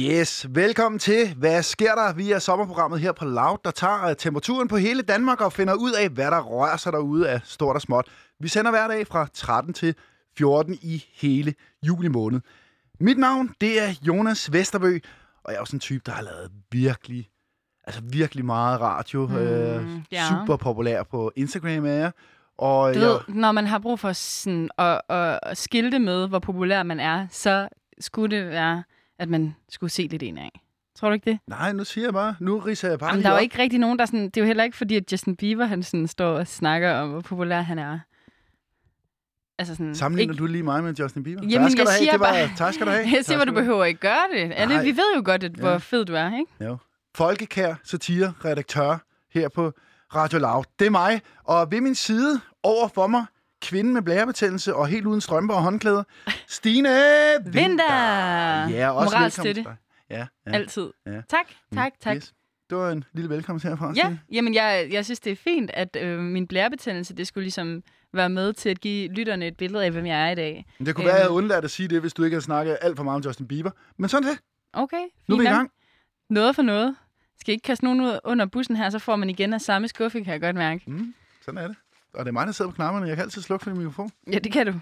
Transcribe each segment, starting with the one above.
Yes, velkommen til. Hvad sker der? Vi er sommerprogrammet her på Loud, der tager øh, temperaturen på hele Danmark og finder ud af, hvad der rører sig derude af stort og småt. Vi sender hver dag fra 13 til 14 i hele juli måned. Mit navn, det er Jonas Vesterbø, og jeg er også en type, der har lavet virkelig, altså virkelig meget radio. Mm, øh, ja. Super populær på Instagram er jeg. Og Du jeg, ved, når man har brug for sådan at, at, at skilte med, hvor populær man er, så skulle det være, at man skulle se lidt en af. Tror du ikke det? Nej, nu siger jeg bare, nu riser jeg bare Jamen, lige der er jo op. ikke rigtig nogen, der sådan... Det er jo heller ikke fordi, at Justin Bieber, han sådan står og snakker om, hvor populær han er. Altså sådan... Sammenligner ikke, du lige mig med Justin Bieber? Jamen, tak skal jeg du have. siger det var, bare- tak skal du have. Jeg Tak siger, hvor du skal have. behøver ikke gøre det. Alle, Nej. vi ved jo godt, at, hvor Ja. fed du er, ikke? Folkekær satire-redaktør her på Radio Loud. Det er mig, og ved min side over for mig, kvinden med blærebetændelse og helt uden strømper og håndklæder, Stine Vinter. Vinter! Ja, også Moralsk velkommen støtte. til dig. Ja, ja. Altid. Ja. Mm. Tak, tak, tak. Yes. Det var en lille velkomst herfra, Ja, Stine. jamen jeg, jeg synes, det er fint, at øh, min blærebetændelse, det skulle ligesom være med til at give lytterne et billede af, hvem jeg er i dag. Men Det kunne Øhm. være, at jeg havde undladt at sige det, hvis du ikke havde snakket alt for meget om Justin Bieber. Men sådan er det. Okay, fint Nu er vi i nok. gang. Noget for noget. Skal ikke kaste nogen ud under bussen her, så får man igen af samme skuffe, kan jeg godt mærke. Mm, sådan er det. Og det er mig, der sidder på knapperne. Jeg kan altid slukke for min mikrofon. Ja, det kan du.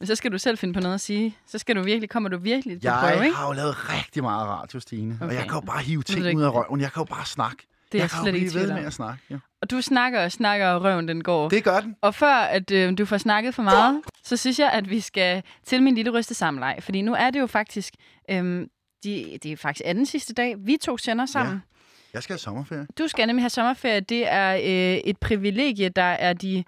Men så skal du selv finde på noget at sige. Så skal du virkelig, kommer du virkelig på prøve, Jeg ikke? har jo lavet rigtig meget radio, Stine. Okay. Og Okay. jeg kan jo bare hive er det ting ikke- ud af røven. Jeg kan jo bare snakke. Det er jeg jeg kan slet jo ikke i blive ved tvivl med om. at snakke. Ja. Og du snakker og snakker, og røven den går. Det gør den. Og før at øh, du får snakket for meget, så synes jeg, at vi skal til min lille rystesamleje. Fordi nu er det jo faktisk, øhm, de, det er faktisk anden sidste dag, vi to sender sammen. Ja. Jeg skal have sommerferie. Du skal nemlig have sommerferie. Det er øh, et privilegie, der er, de,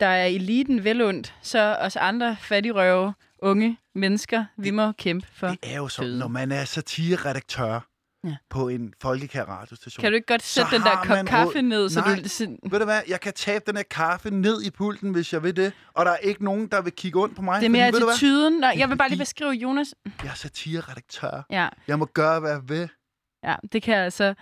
der er eliten velundt. Så os andre fattigrøve, unge mennesker, vi må kæmpe for. Det er jo sådan, Fede. når man er satireredaktør Ja. på en folkekær radiostation. Kan du ikke godt sætte Så den der har kop man kaffe råd. ned, så Nej. du... Så, Ved du hvad, jeg kan tabe den her kaffe ned i pulten, hvis jeg vil det. Og der er ikke nogen, der vil kigge ondt på mig. det er mere fordi, ved du hvad, attituden. Nå, jeg vil bare lige fordi- beskrive Jonas. jeg er satireredaktør. Ja, Jeg må gøre, hvad jeg vil. ja, det kan altså...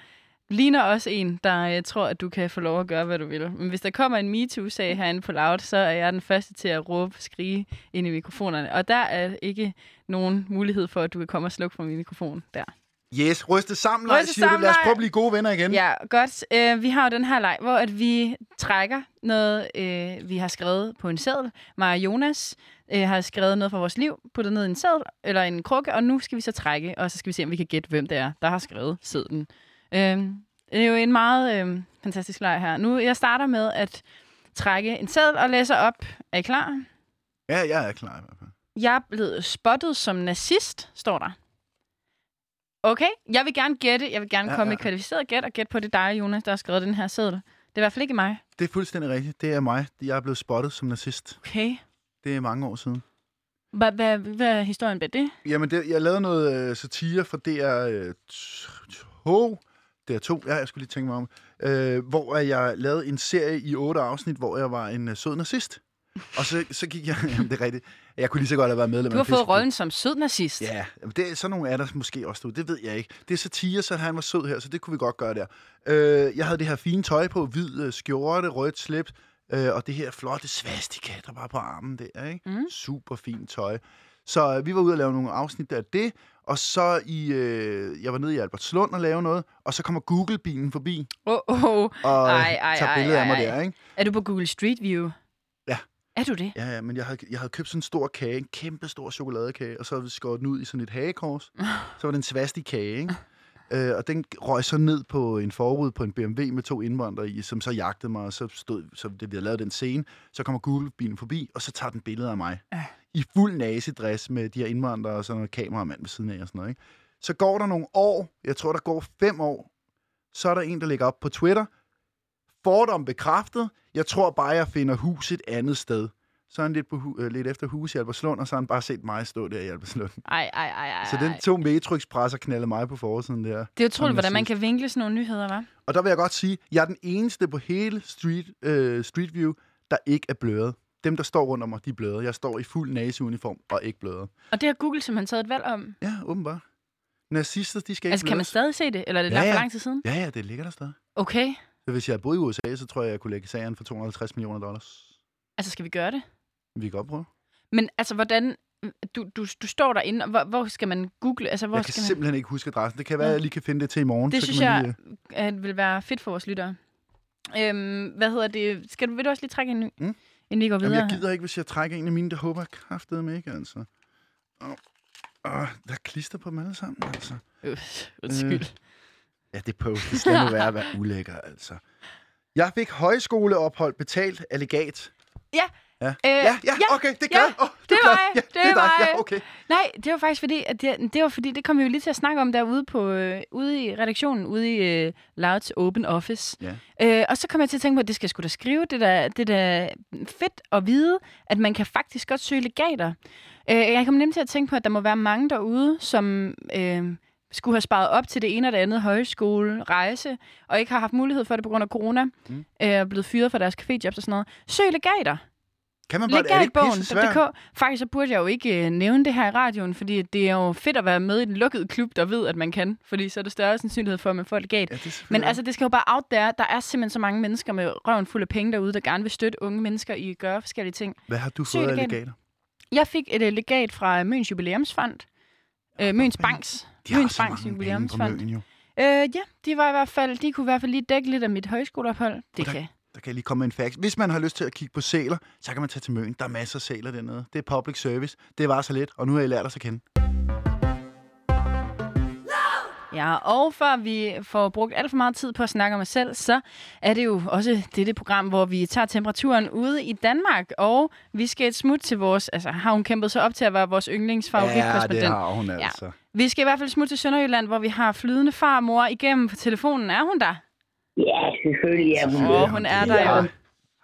Ligner også en, der øh, tror, at du kan få lov at gøre, hvad du vil. Men hvis der kommer en MeToo-sag herinde på Loud, så er jeg den første til at råbe og skrige ind i mikrofonerne. Og der er ikke nogen mulighed for, at du kan komme og slukke for min mikrofon der. Yes, ryste sammen, Lars, Ryste siger du. sammen, Lad os Lars. prøve at blive gode venner igen. Ja, godt. Øh, vi har jo den her leg, hvor at vi trækker noget, øh, vi har skrevet på en seddel. Mig og Jonas øh, har skrevet noget fra vores liv, puttet ned i en seddel eller en krukke, og nu skal vi så trække, og så skal vi se, om vi kan gætte, hvem det er, der har skrevet sedlen. Øh, det er jo en meget øh, fantastisk leg her. Nu, jeg starter med at trække en seddel og læser op. Er I klar? ja jeg er klar i hvert fald. Jeg er blevet spottet som nazist, står der. Okay, jeg vil gerne gætte. Jeg vil gerne Ja, ja, komme ja, med et kvalificeret gæt og gætte på, det er dig, Jonas, der har skrevet den her seddel. Det er i hvert fald ikke mig. Det er fuldstændig rigtigt. Det er mig. Jeg er blevet spottet som nazist. Okay. Det er mange år siden. Hvad hvad- hvad er historien bag det? Jamen, det, jeg lavede noget øh, satire for øh, DR2. DR2, ja, jeg skulle lige tænke mig om. Øh, hvor at jeg lavede en serie i otte afsnit, hvor jeg var en øh, sød nazist. Og så, så gik jeg... Jamen, det er rigtigt. Jeg kunne lige så godt have været medlem Du har af en fået Facebook. rollen som sød nazist. Ja, jamen, det, er- sådan nogle er der måske også. Du. Det ved jeg ikke. Det er satire, så han var sød her, så det kunne vi godt gøre der. Øh, jeg havde det her fine tøj på, hvid øh, skjorte, rødt slips, øh, og det her flotte svastika, der var på armen der. Ikke? Mm. Super fint tøj. Så øh, vi var ude og lave nogle afsnit af det, og så i, øh, jeg var nede i Albertslund og lave noget, og så kommer Google-bilen forbi Åh, oh, oh. og Ej, ej, tager ej, billeder af mig ej, ej. der, ikke? Er du på Google Street View? Ja. Er du det? Ja, ja, men jeg havde, jeg havde købt sådan en stor kage, en kæmpe stor chokoladekage, og så havde vi skåret den ud i sådan et hagekors. Så var den svastig kage, ikke? Øh, og den røg så ned på en forud på en BMW med to indvandrere i, som så jagtede mig, og så stod, så det, vi havde lavet den scene, så kommer Google-bilen forbi, og så tager den billeder af mig. Ja. I fuld nasedress med de her indvandrere og sådan noget kameramand ved siden af og sådan noget, ikke? Så går der nogle år, jeg tror, der går fem år, så er der en, der lægger op på Twitter, fordom bekræftet, jeg tror bare, jeg finder hus et andet sted. Så er han lidt, på hu- øh, lidt efter hus i Albertslund, og så har han bare set mig stå der i Albertslund. Ej, ej, ej, ej. Så den ej. to metrixpresser knaldede mig på forsiden der. Det er Som utroligt, hvordan man nazist. kan vinkle sådan nogle nyheder, hva'? Og der vil jeg godt sige, at jeg er den eneste på hele Street, øh, street View, der ikke er bløret. Dem, der står rundt om mig, de er bløde. Jeg står i fuld naseuniform og ikke bløret. Og det har Google simpelthen taget et valg om. Ja, åbenbart. Nazister, de skal ikke Altså, kan man blødes. stadig se det? Eller er det Ja, ja, ja. ja. for lang tid siden? Ja, ja, det ligger der stadig. Okay. Så hvis jeg boede i USA, så tror jeg, jeg kunne lægge sagen for 250 millioner dollars. Altså, skal vi gøre det? Vi kan godt prøve. Men altså, hvordan... du, du, du står derinde, og hvor, hvor skal man google? Altså, hvor Jeg kan skal man... simpelthen ikke huske adressen. Det kan være, at jeg lige kan finde det til i morgen. Det så kan synes man jeg lige, øh, at vil være fedt for vores lyttere. Øhm, hvad hedder det? Skal du, vil du også lige trække en ny? Mm. Inden vi går øh, videre. jamen, jeg gider ikke, hvis jeg trækker en af mine. Det håber jeg kraftedeme ikke, altså. Og, og der er klister på dem alle sammen, altså. Øh, Mm. Undskyld. Ja, det post. Det skal nu være at være ulækker, altså. Jeg fik højskoleophold betalt af legat. Ja. Ja, Øh, ja, ja, ja, okay, det ja, gør jeg. Åh, det er var klart. jeg, Ja, det det er dig. var jeg. Ja, okay. Nej, det var faktisk fordi, at det, det var fordi, det kom vi jo lige til at snakke om derude, på, øh, ude i redaktionen, ude i øh, Louds Open Office. Ja. Øh, og så kom jeg til at tænke på, at det skal jeg sgu da skrive, det der, det der fedt at vide, at man kan faktisk godt søge legater. Øh, jeg kom nemt til at tænke på, at der må være mange derude, som øh, skulle have sparet op til det ene og det andet højskole, rejse, og ikke har haft mulighed for det på grund af corona, Mm. mm. øh, er blevet fyret fra deres caféjobs og sådan noget. Søg legater! Kan man bare, er det ikke pisse svært? Legatbogen.dk. Faktisk så burde jeg jo ikke øh, nævne det her i radioen, fordi det er jo fedt at være med i den lukkede klub, der ved, at man kan. Fordi så er der større sandsynlighed for, at man får et legat. Ja, det er selvfølgelig Men rigtigt. altså, det skal jo bare out there. Der er simpelthen så mange mennesker med røven fuld af penge derude, der gerne vil støtte unge mennesker i at gøre forskellige ting. Hvad har du Søg fået af det igen. legater? Jeg fik et øh, legat fra Møns Jubilæumsfond. Øh, Møns Banks. De har Møns så Banks mange penge på Jubilæumsfond. Møn, jo. Øh, ja, de var i hvert fald, de kunne i hvert fald lige dække lidt af mit højskoleophold. Det der- kan Der kan jeg lige komme med en fax. Hvis man har lyst til at kigge på sæler, så kan man tage til Møn. Der er masser af sæler dernede. Det er public service. Det var så let, og nu har I lært os at kende. Ja, og før vi får brugt alt for meget tid på at snakke om os selv, så er det jo også dette program, hvor vi tager temperaturen ude i Danmark, og vi skal et smut til vores... Altså, har hun kæmpet sig op til at være vores yndlingsfavoritkorrespondent? det har hun Ja. altså. Ja. Vi skal i hvert fald et smut til Sønderjylland, hvor vi har flydende farmor igennem på telefonen. Er hun der? Ja, selvfølgelig er hun. Åh, hun er der jo.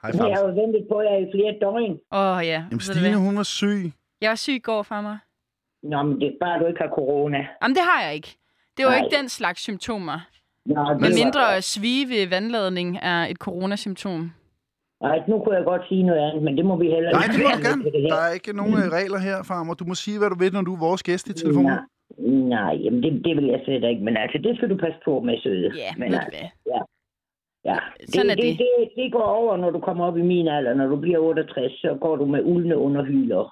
Hej, Vi har Faust. jo ventet på jer i flere døgn. Åh, oh, ja. Jamen, ved du hvad? Stine, hun var syg. Jeg var syg i går, farmor. Nå, men det er bare, du ikke har corona. Jamen, det har jeg ikke. Det var jo Nej. ikke den slags symptomer. Nå, det Men var- mindre svige ved vandladning er et coronasymptom. Ej, nu kunne jeg godt sige noget andet, men det må vi heller Nej, det må du Det gerne. Der er ikke nogen øh, regler her, farmor. Du må sige, hvad du vil, når du er vores gæst i telefonen. Nej, nej jamen det, det vil jeg slet ikke. Men altså, det skal du passe på med, søde. Ja, men ved du altså, hvad? ja. sådan er det, det. det. Det, det, går over, når du kommer op i min alder. Når du bliver 68, så går du med uldne underhyler.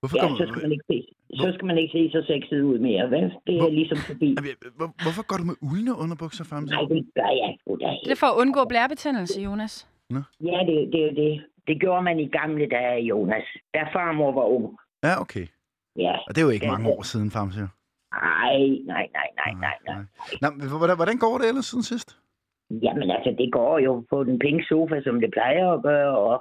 Hvorfor, Ja, går, så skal man ikke se, så, skal man ikke se så sexet ud mere, vel? Det Hvor- er ligesom forbi. Jamen, jeg- hvor, hvorfor går du med uldne underbukser frem? Nej, det gør jeg sgu da Det er for at undgå blærebetændelse, Jonas. Ja, det, det er jo det. Det gjorde man i gamle dage, Jonas. Da farmor var ung. Ja, okay. Ja. Og det er jo ikke Ja, mange ja. år siden, Famse. Nej, Ej, nej, nej, nej, nej, nej. Nå, men hvordan, hvordan går det ellers siden sidst? Jamen altså, det går jo på den pink sofa, som det plejer at gøre, og,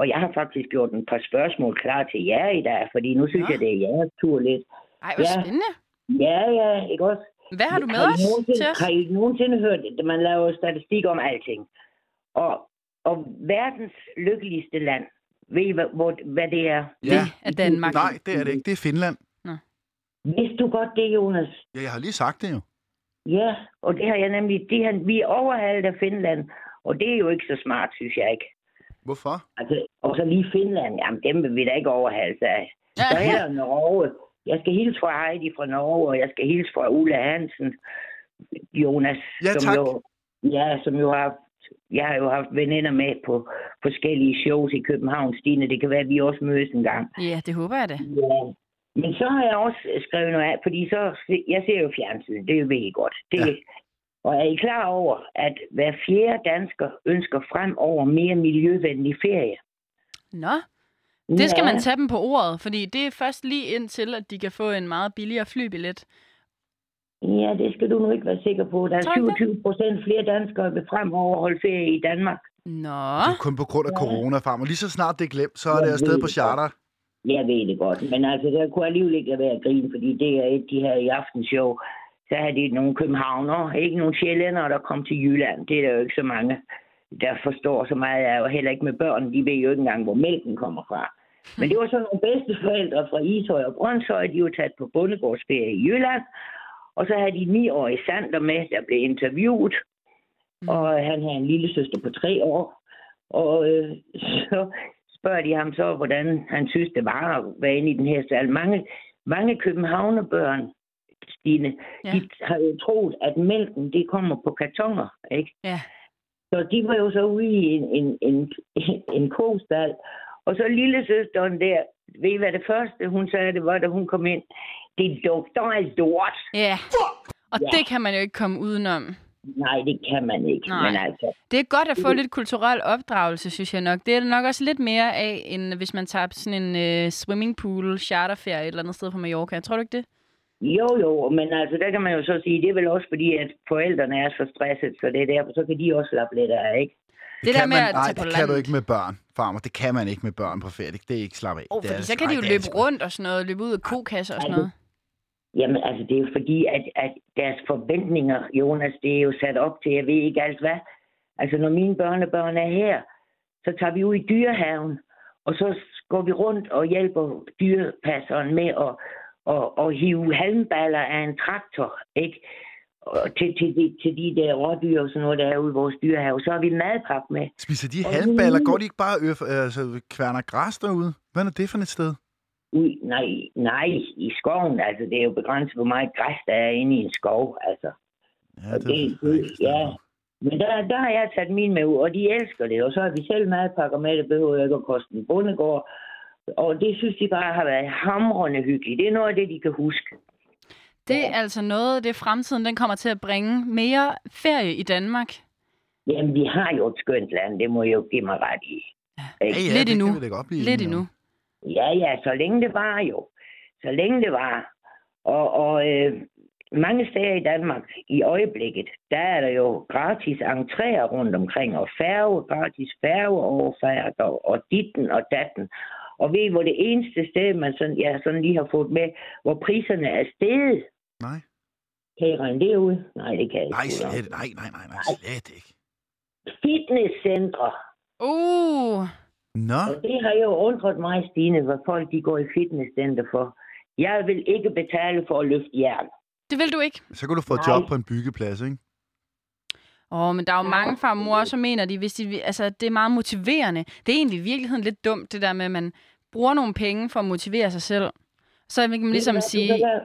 og jeg har faktisk gjort en par spørgsmål klar til jer i dag, fordi nu synes Nå. ja. jeg, det er jeres tur lidt. Ej, hvor Ja. spændende. Ja, ja, ikke også? Hvad har du med I os nogensinde- til os? Har I nogensinde hørt, at man laver statistik om alting? Og, og verdens lykkeligste land, ved I, hvad, hvor, hvad det er? Ja. Det er Danmark. Nej, det er det ikke. Det er Finland. Vidste du godt det, Jonas? Ja, jeg har lige sagt det jo. Ja, og det har jeg nemlig. Det her, vi er overhalet af Finland, og det er jo ikke så smart, synes jeg ikke. Hvorfor? Altså, og så lige Finland, jamen dem vil vi da ikke overhales af. Ja. Så heller Norge. Jeg skal hilse fra Heidi fra Norge, og jeg skal hilse fra Ulla Hansen, Jonas, Ja, som, tak. jo, ja, som jo har haft, jeg har jo haft veninder med på forskellige shows i København, Stine. Det kan være, at vi også mødes en gang. Ja, det håber jeg da. Ja. Men så har jeg også skrevet noget af, fordi så, jeg ser jo fjernsyn, det ved I godt. Det, Ja. ja. Og er I klar over, at hver fjerde dansker ønsker fremover mere miljøvenlig ferie? Nå, det skal Ja. man tage dem på ordet, fordi det er først lige indtil, at de kan få en meget billigere flybillet. Ja, det skal du nu ikke være sikker på. Der er Tror du ikke 27 procent flere danskere, der vil fremover holde ferie i Danmark. Nå, Det er kun på grund af Ja. corona, farmor. Lige så snart det er glemt, så er det Jeg afsted ved på det charter. Jeg ved det godt, men altså, der kunne alligevel ikke lade være at grine, fordi det er et, de her i aftenshow, så havde de nogle københavnere, ikke nogle sjællændere, der kom til Jylland. Det er der jo ikke så mange, der forstår så meget af, og heller ikke med børn. De ved jo ikke engang, hvor mælken kommer fra. Men det var så nogle bedsteforældre fra Ishøj og Brøndshøj, de var taget på bondegårdsferie i Jylland, og så havde de ni år i Sander med, der blev interviewet, Mm. og han havde en lille søster på tre år, og øh, så spørger de ham så, hvordan han synes, det var at være inde i den her stald. Mange, mange københavnerbørn, Stine, Ja. ja. de har jo troet, at mælken det kommer på kartonger, ikke? Ja. Så de var jo så ude i en, en, en, en kostal, Og så lille søsteren der, ved I hvad det første, hun sagde, det var, da hun kom ind? Det lugter af lort. Ja. Og Ja. det kan man jo ikke komme udenom. Nej, det kan man ikke. Nej. Nej. Men altså, Det er godt at få lidt kulturel opdragelse, synes jeg nok. Det er der nok også lidt mere af, end hvis man tager på sådan en øh, swimmingpool, charterferie et eller andet sted på Mallorca. Tror du ikke det? jo jo, men altså, der kan man jo så sige, det er vel også fordi, at forældrene er så stresset, så det er derfor, så kan de også slappe lidt af, ikke? Det der kan med man, at nej, tage på det kan du landet. ikke med børn, farmer. Det kan man ikke med børn på ferie. Det- Det er ikke slappe af. Oh, Det er fordi det så sgu- kan de ej, jo det er altså- det sgu- løbe rundt og sådan noget, løbe ud af kokasser og sådan Ej, noget. Jamen, altså, det er jo fordi, at, at deres forventninger, Jonas, det er jo sat op til, jeg ved ikke alt hvad. Altså, når mine børnebørn er her, så tager vi ud i dyrehaven, og så går vi rundt og hjælper dyrepasseren med at, at, at hive halmballer af en traktor, ikke? Og til, til, de, til de der rådyr og sådan noget, der er ude i vores dyrehave. Så har vi madpap med. Spiser de Og halmballer? nu- Går de ikke bare og øf, altså, kværner græs derude? Hvad er det for et sted? Ud, nej, nej, i skoven. Altså, det er jo begrænset, hvor meget græs der er inde i en skov, altså. Ja, Og det- jeg ikke forstået. ja. Men der, der har jeg taget mine med ud, og de elsker det. Og så har vi selv madpakker med, det behøver jeg ikke at koste en bondegård. Og det synes de bare har været hamrende hyggeligt. Det er noget af det, de kan huske. Det er altså noget, det fremtiden den kommer til at bringe. Mere ferie i Danmark. Jamen, vi har jo et skønt land, det må jeg jo give mig ret i. Ja, ja, Lidt det endnu. Kan vi da godt blive Lidt enige om. endnu. Ja, ja, så længe det var jo. Så længe det var. Og, og øh, mange steder i Danmark i øjeblikket, der er der jo gratis entréer rundt omkring, og færge, gratis færgeoverfærd, og, og ditten og datten. Og ved I, hvor det eneste sted, man sådan, jeg sådan lige har fået med, hvor priserne er steget? Nej. Kan I regne det ud? Nej, det kan jeg ikke. Nej, ud om. slet, nej, nej, nej, nej, slet ikke. Fitnesscentre. Uh, Nå, Og det har jo undret mig, Stine, hvad folk de går i fitnesscenter for. Jeg vil ikke betale for at løfte jern. det vil du ikke. så kan du få et Nej. job på en byggeplads, ikke? Åh, oh, men der er jo mange far og mor, som mener, de, hvis de, altså, det er meget motiverende. Det er egentlig i virkeligheden lidt dumt, det der med, at man bruger nogle penge for at motivere sig selv. Så kan man Ved ligesom du hvad, Du sige, kan lave,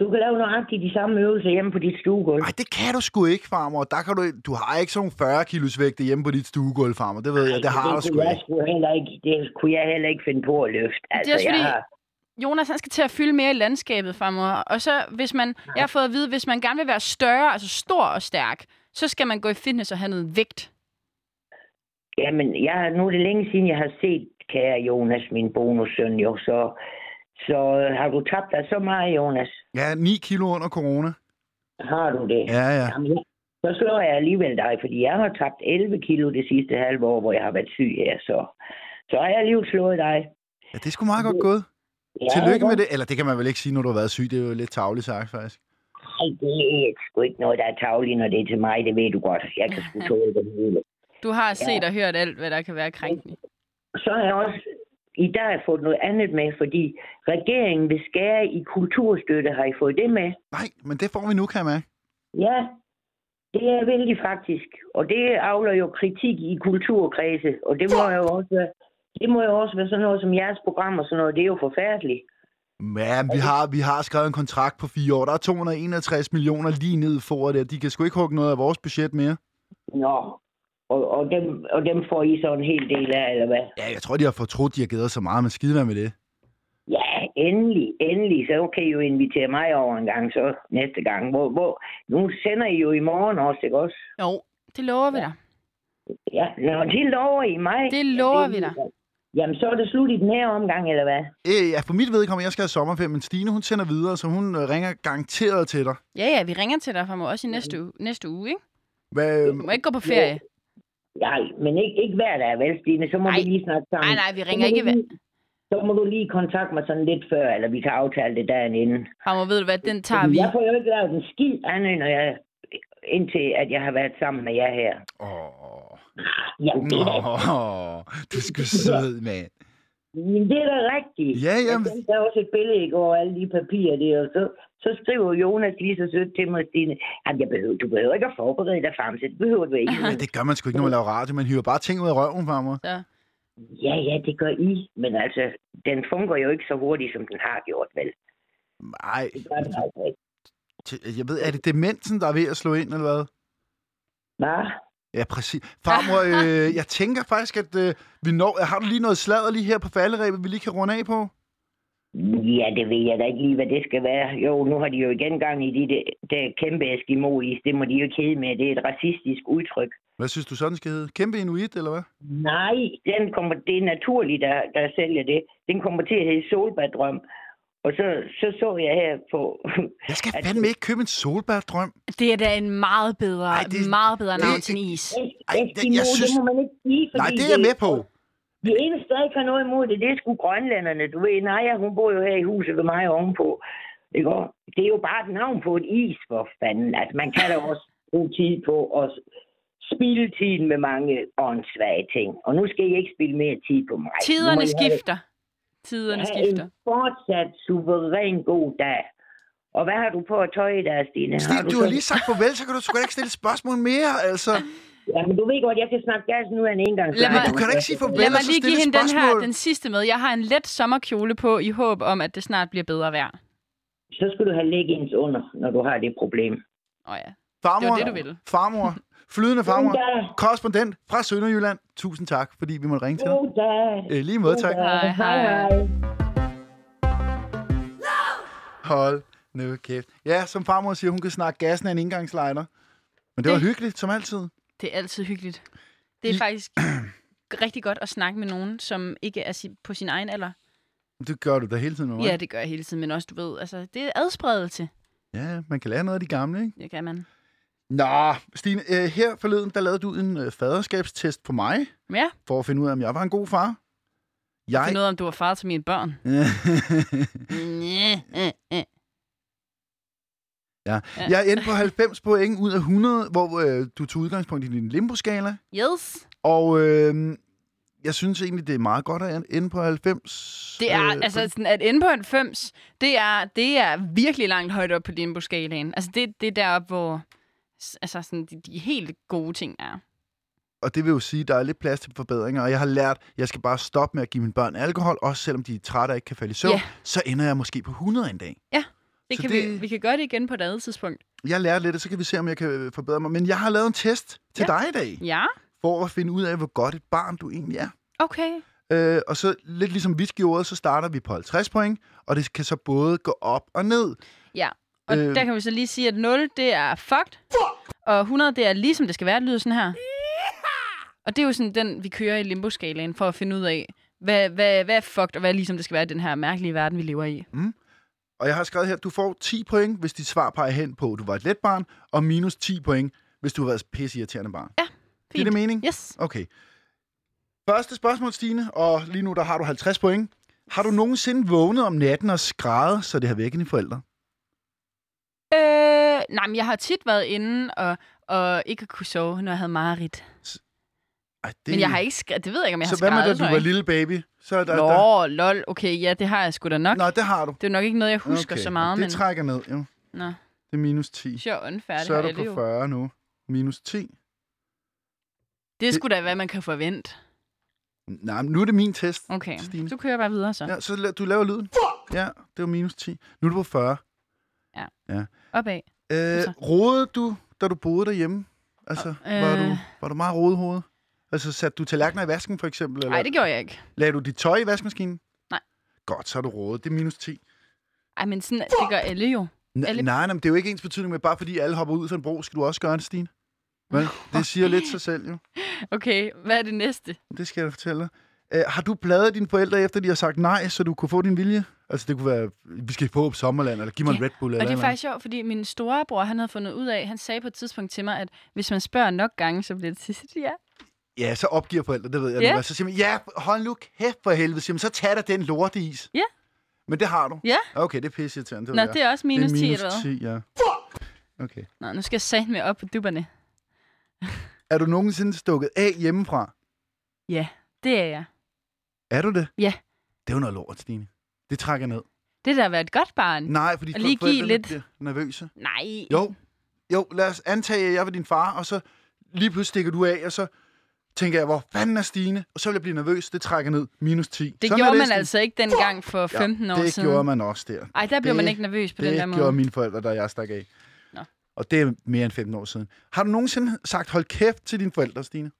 du kan lave nøjagtigt de samme øvelser hjemme på dit stuegulv. Nej, det kan du sgu ikke, farmor. Der kan du, du har ikke sådan nogle 40 kilos vægte hjemme på dit stuegulv, farmor. Det ved jeg, det har det du sgu kunne jeg ikke. sgu heller ikke. Det kunne jeg heller ikke finde på at løfte. Altså, også fordi- jeg har, Jonas han skal til at fylde mere i landskabet fremover. Og så, hvis man, jeg har fået at vide, hvis man gerne vil være større, altså stor og stærk, så skal man gå i fitness og have noget vægt. jamen, jeg, har- nu er det længe siden, jeg har set kære Jonas, min bonussøn, jo, så, så øh, har du tabt dig så meget, Jonas? Ja, 9 kilo under corona. Har du det? Ja, ja. Jamen, ja. så slår jeg alligevel dig, fordi jeg har tabt 11 kilo det sidste halve år, hvor jeg har været syg her, så, så har jeg alligevel slået dig. Ja, det er sgu meget godt gået. Ja, Tillykke ikke? med det. Eller det kan man vel ikke sige, når du har været syg. Det er jo lidt tavligt sagt, faktisk. Ej, det er sgu ikke noget, der er tavligt, når det er til mig. Det ved du godt. Jeg kan sgu tåle det hele. Du har set og hørt alt, hvad der kan være krænkende. Så har jeg også i dag fået noget andet med, fordi regeringen vil skære i kulturstøtte. Har I fået det med? Nej, men det får vi nu, kan jeg mærke. Ja, det er vældig faktisk. Og det afler jo kritik i kulturkredse. Og det må jo også være, det må jo også være sådan noget som jeres program og sådan noget. Det er jo forfærdeligt. Ja, vi har, vi har skrevet en kontrakt på fire år. Der er 261 millioner lige ned for det. De kan sgu ikke hugge noget af vores budget mere. Nå, og, og, dem, og dem får I så en hel del af, eller hvad? Ja, jeg tror, de har fortrudt, de har givet os så meget, men skide være med det. Ja, endelig, endelig. Så kan I jo invitere mig over en gang, så næste gang. Hvor, hvor, nu sender I jo i morgen også, ikke også? Jo, det lover vi dig. Ja, nå, det lover I mig. Det lover vi dig. Jamen, så er det slut i den her omgang, eller hvad? Øh, ja, for mit vedkommende, jeg skal have sommerferie, men Stine, hun sender videre, så hun øh, ringer garanteret til dig. Ja, ja, vi ringer til dig fremover også i næste uge, næste uge ikke? Hvad, øhm, Du må ikke gå på ferie. Nej, men ikke, ikke hver dag, vel, Stine? Så må Ej. vi lige snakke sammen. Nej, nej, vi Så må ringer du ikke hver... lige- Så må du lige kontakte mig sådan lidt før, eller vi kan aftale det dagen inden. Fremover, ved du hvad, den tager vi. Jeg får jo ikke lavet en skid andet, når jeg, indtil at jeg har været sammen med jer her. Åh, Jamen, det er da Nå, du er sgu sød, mand. Men det er da rigtigt. Ja, Jeg jamen- sendte dig også et billede i går, af alle de papirer der, og så, så skriver Jonas lige så sødt til mig, Stine, at jeg behøver, du behøver ikke at forberede dig frem til, det behøver du ikke. Ja, det gør man sgu ikke, når man laver radio. Man hiver bare ting ud af røven fra mig. ja, ja, det gør I, men altså, den fungerer jo ikke så hurtigt, som den har gjort, vel? Nej, Det gør den altså ikke. øh, t- jeg ved, er det demensen, der er ved at slå ind, eller hvad? Hva? Ja, præcis. Farmor, øh, jeg tænker faktisk, at øh, vi når... Har du lige noget sladder lige her på falderæbet, vi lige kan runde af på? Ja, det ved jeg da ikke lige, hvad det skal være. Jo, nu har de jo igen gang i de der, der kæmpe eskimois. Det må de jo ikke hedde med. Det er et racistisk udtryk. Hvad synes du, sådan skal hedde? Kæmpe inuit, eller hvad? Nej, den kommer, det er naturligt, der, der sælger det. Den kommer til at hedde solbærdrøm. Og så så, så jeg her på... Jeg skal at- fandme ikke købe en solbærdrøm. Det er da en meget bedre, Ej, Ej, det- det, meget bedre det- navn til en is. Ej, det- Eskimo, jeg synes- det må man ikke sige, fordi Nej, det er jeg med på. De eneste, der ikke har noget imod det, det er sgu grønlænderne. Du ved, Naja, hun bor jo her i huset ved mig ovenpå. Ikke? også? Det er jo bare et navn på et is, for fanden. Altså, man kan da også bruge tid på at spilde tiden med mange åndssvage ting. Og nu skal I ikke spille mere tid på mig. Nu må Tiderne I have- skifter. Tiderne have skifter. en fortsat suveræn god dag. Og hvad har du på at tøj i dag, Stine? Stil, du så- har lige sagt farvel, så kan du sgu da ikke stille et spørgsmål mere, altså. Ja, men du ved godt, jeg kan snakke gas nu af en engang. Lad mig- Du kan da ikke sige farvel, Lad og mig så lige give stille et hende den her, spørgsmål. den sidste med. Jeg har en let sommerkjole på i håb om, at det snart bliver bedre vejr. Så skal du have leggings under, når du har det problem. Åh oh, ja. Farmor, Det var det, du ville. Farmor, flydende farmor, God dag. korrespondent fra Sønderjylland. Tusind tak, fordi vi måtte ringe til dig. God dag. Øh, lige måde, tak. Hej, hej. Hold nu kæft. Ja, som farmor siger, hun kan snakke gassen af en indgangslejner. Men det var Det- hyggeligt, som altid. Det er altid hyggeligt. Det er I- faktisk rigtig godt at snakke med nogen, som ikke er si- på sin egen alder. Det gør du da hele tiden med mig. Ja, det gør jeg hele tiden, men også, du ved, altså, det er adspredelse, ja, man kan lære noget af de gamle, ikke? det kan man. Nå, Stine, øh, her forleden, der lavede du en øh, faderskabstest på mig, Men ja, for at finde ud af, om jeg var en god far. for Jeg... noget om, du var far til mine børn. Næh, øh, øh. ja. Jeg endte på 90 point ud af 100, hvor øh, du tog udgangspunkt i din limboskala. Yes. Og øh, jeg synes egentlig, det er meget godt at ende på 90. Det er, øh, altså, sådan, at ende på 90, det er, det er virkelig langt højt op på limbo-skalaen. Altså, det, det er deroppe, hvor s- altså, sådan, de, de helt gode ting er. Og det vil jo sige, at der er lidt plads til forbedringer, og jeg har lært, at jeg skal bare stoppe med at give mine børn alkohol, også selvom de er trætte og ikke kan falde i søvn, Ja. så ender jeg måske på 100 en dag. Det Så kan det- Vi, vi kan gøre det igen på et andet tidspunkt. Jeg lærer lidt, og så kan vi se, om jeg kan øh, forbedre mig. Men jeg har lavet en test til ja. Ja. dig i dag, Ja, for at finde ud af, hvor godt et barn du egentlig er. okay. Øh, og så lidt ligesom vi gjorde, så starter vi på 50 point, og det kan så både gå op og ned. Ja, og Øh. øh. der kan vi så lige sige, at 0, det er fucked. Og 100, det er ligesom det skal være, det lyder sådan her. Og det er jo sådan den, vi kører i limbo-skalaen for at finde ud af, hvad, hvad, hvad er fucked, og hvad er ligesom det skal være i den her mærkelige verden, vi lever i. Og jeg har skrevet her, at du får 10 point, hvis dit svar peger hen på, at du var et let barn, og minus 10 point, hvis du har været et pisseirriterende barn. Ja, Giver det fint. mening? Yes. Okay. Første spørgsmål, Stine, og lige nu der har du 50 point. Har du nogensinde vågnet om natten og skrædet, så det har vækket dine forældre? Øh, nej, men jeg har tit været inde og, og ikke kunne sove, når jeg havde mareridt. Ej, det... Det... Men jeg har ikke skrevet, det ved jeg ikke, om jeg Så har hvad skrevet. med, da du var lille baby? Så er der, der... Nå, lol, okay, ja, det har jeg sgu da nok. Nå. Nå, det har du. Det er jo nok ikke noget, jeg husker okay. så meget, Det men... trækker ned, jo. Nå, Det er minus 10. sjov unfærdig så er har du alle på jo. 40 nu. Minus 10. Det er sgu da, hvad man kan forvente. Nej, men nu er det min test, Okay, Stine. så kører jeg bare videre så. Ja, så la- du laver lyden. Ja, det var minus 10. Nu er du på 40. Opad. Øh, så? rodede du, da du boede derhjemme? Altså, øh... var, du, øh. var du meget rodehoved? Altså, satte du tallerkener i vasken, for eksempel? Eller Nej, det gjorde jeg ikke. Lagde du dit tøj i vaskemaskinen? Nej. Godt, så er du rådet. Det er minus 10. Ej, men sådan, det gør alle jo. N- Alle- Nej, nej, men det er jo ikke ens betydning med, bare fordi alle hopper ud for en bro, skal du også gøre det, Stine. Vel? Det siger lidt sig selv, jo. Okay, hvad er det næste? Det skal jeg da fortælle dig. Øh, har du pladet dine forældre, efter de har sagt nej, så du kunne få din vilje? Altså, det kunne være, vi skal på sommerland, eller giv mig en Ja, Red Bull, eller Og det er eller faktisk sjovt, fordi min storebror, han havde fundet ud af, han sagde på et tidspunkt til mig, at hvis man spørger nok gange, så bliver det til sit ja. Ja, så opgiver forældre, det ved jeg Ja. nu. Og Så siger man, ja, hold nu kæft for helvede. Siger man, så tag dig den lorteis. Ja. Men det har du? Ja. Okay, det er pisse irriterende. Nå, det er også minus, det er 10 eller hvad? 10, ja. Okay. Nå, nu skal jeg sætte med op på dupperne. Er du nogensinde stukket af hjemmefra? Ja, det er jeg. Er du det? Ja. Det er jo noget lort, Stine. Det trækker ned. Det der at være et godt barn. Nej, fordi Og lige give forældrene lidt. bliver øh, nervøse. Nej. Mm. Jo. Jo, lad os antage, at jeg var din far, og så lige pludselig stikker du af, og så tænker jeg, hvor fanden er Stine? Og så vil jeg blive nervøs. Det trækker ned. Minus 10. Det Sådan er gjorde man Stine. altså ikke dengang for 15 ja, år det siden. gjorde man også der. Ej, der blev Det- man ikke nervøs på den der Det måde. gjorde mine forældre, da jeg stak af. Nå. Og det er mere end 15 år siden. Har du nogensinde sagt, hold kæft til dine forældre, Stine?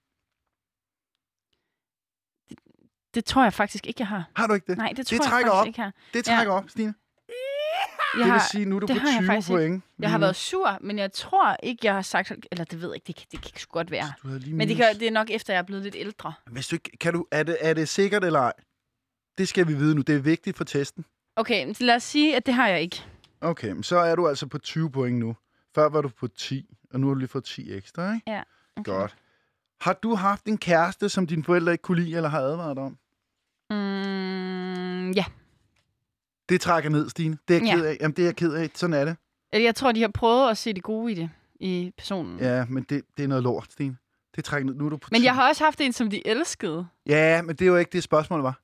Det tror jeg faktisk ikke, jeg har. Har du ikke det? Nej, det tror Det jeg trækker faktisk op. ikke, jeg har. Det trækker ja. op, Stine. Jeg det vil har, sige, nu er du det på har jeg 20 faktisk ikke. point. jeg har lige nu. været sur, men jeg tror ikke, jeg har sagt... Eller det ved jeg ikke, det kan, det kan sgu godt være. Så Du havde lige Men det, minus. kan, det er nok efter, jeg er blevet lidt ældre. Hvis du ikke, kan du, er, det, er det sikkert eller ej? Det skal vi vide nu. Det er vigtigt for testen. Okay, men lad os sige, at det har jeg ikke. Okay, men så er du altså på 20 point nu. Før var du på 10, og nu har du lige fået 10 ekstra, ikke? Ja, okay. Godt. Har du haft en kæreste, som dine forældre ikke kunne lide eller har advaret om? Mm, ja. Det trækker ned, Stine. Det er jeg Ja. ked af. Jamen, det er jeg ked af. Sådan er det. Eller Jeg tror, de har prøvet at se det gode i det, i personen. Ja, men det, det er noget lort, Stine. Det trækker ned. Nu er du på Mm. Men 10. jeg har også haft en, som de elskede. Ja, men det er jo ikke det spørgsmål, var.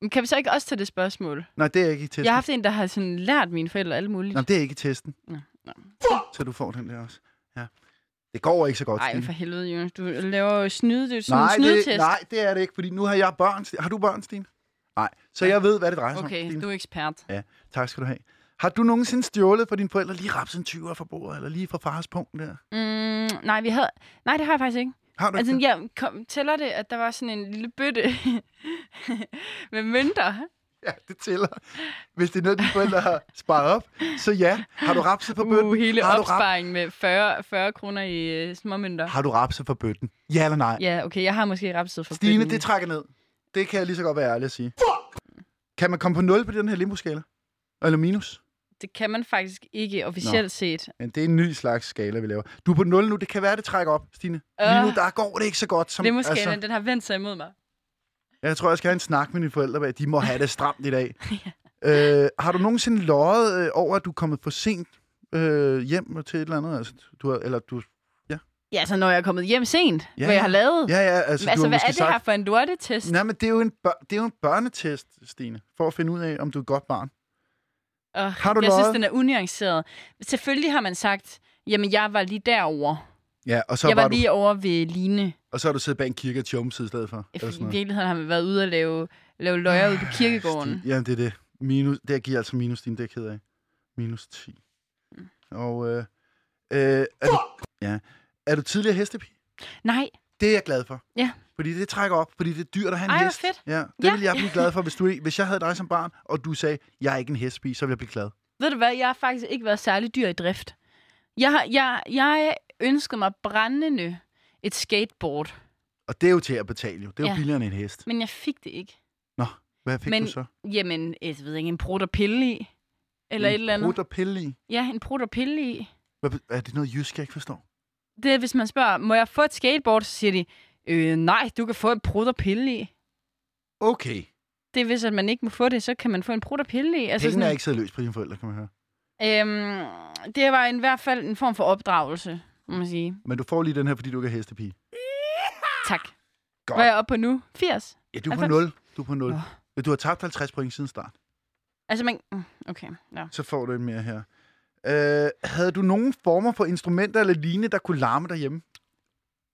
Men kan vi så ikke også tage det spørgsmål? Nej, det er ikke i testen. Jeg har haft en, der har sådan lært mine forældre alt muligt. Nå, det er ikke i testen. Nå, nå. Så du får den der også. Ja. Det går ikke så godt, Nej, Stine. for helvede, Jonas. Du laver jo snyde, det er sådan Nej en snydetest. det, nej, det er det ikke, fordi nu har jeg børn. Sti- Har du børn, Stine? Nej, så jeg ved, hvad det drejer sig om, Okay, Stine. du er ekspert. Ja, tak skal du have. Har du nogensinde stjålet for dine forældre lige raps en 20'er fra bordet, eller lige fra fars punkt der? Mm, nej, vi havde... nej, det har jeg faktisk ikke. Har du Altså, ikke jeg kom, tæller det, at der var sådan en lille bøtte med mønter. det? Ja, det tæller. Hvis det er noget, dine forældre har sparet op, så ja. Har du rapset for bøtten? Uh, hele har, du rap- opsparingen med 40, 40 kroner i uh, småmønter. har du rapset for bøtten? Ja eller nej? Ja, okay, jeg har måske rapset for Stine, bøtten. det trækker ned. Det kan jeg lige så godt være ærlig at sige. Kan man komme på 0 på den her limbo-skala? Eller minus? det kan man faktisk ikke officielt Nå. set. Men det er en ny slags skala, vi laver. Du er på 0 nu. Det kan være, det trækker op, Stine. Lige nu, Øh. der går det ikke så godt. Som, Det er måske, altså... den har vendt sig imod mig. jeg tror, jeg skal have en snak med mine forældre. bag. De må have det stramt i dag. øh, har du nogensinde løjet øh, over, at du er kommet for sent øh, hjem til et eller andet? Altså, du har, eller du, Ja, så når jeg er kommet hjem sent, Ja, ja, hvad jeg har lavet. ja, ja, altså, Men altså, du har hvad måske er det sagt, her for en lortetest? Nej, men det er, jo en bør- det er jo en børnetest, Stine, for at finde ud af, om du er et godt barn. Oh, Har du jeg løjet? synes, den er unuanceret. Selvfølgelig har man sagt, jamen, jeg var lige derovre. Ja, og så, Jeg var, var du, lige over ved Line. og så har du siddet bag en kirke og tjumset i stedet for. I eller sådan noget. Ah, virkeligheden har man været ude og lave, lave løjer ude på kirkegården. Sti- Jamen, det er det. Minus, det giver altså minus din, det er jeg ked af. Minus 10. Mm. Og øh, øh, er, du, ja. er du tidligere hestepige? Nej, Det er jeg glad for. Ja. Fordi det trækker op, fordi det er dyrt at have en Ej, hvor hest. fedt. Ja, det Ja. ville jeg blive glad for, hvis, du, ikke- hvis jeg havde dig som barn, og du sagde, jeg er ikke en hestepige, så ville jeg blive glad. ved du hvad, jeg har faktisk ikke været særlig dyr i drift. Jeg, har- jeg, jeg ønskede mig brændende et skateboard, Og det er jo til at betale jo. Det er jo Ja. billigere end en hest. men jeg fik det ikke. Nå, hvad fik Men du så? Jamen, jeg ved ikke, en prut og pille i. Eller en et eller andet. prut og pille i. Ja, en prut og pille i. Hvad, be- er det noget jysk, jeg ikke forstår? Det er, hvis man spørger, må jeg få et skateboard? Så siger de, øh, nej, du kan få en prut og pille i. Okay. Det er, hvis at man ikke må få det, så kan man få en prut og pille i. Altså, Pengene er sådan, ikke siddet løs på dine forældre, kan man høre. øhm, det var i hvert fald en form for opdragelse, må man sige. Men du får lige den her, fordi du ikke er hestepige. Tak. Godt. Hvad er jeg oppe på nu? 80? Ja, du er på 90. 0. Du er på 0. Åh. Men Du har tabt 50 point siden start. Altså, man... mm, Okay, ja. Så får du en mere her. Øh, havde du nogen former for instrumenter eller lignende, der kunne larme derhjemme?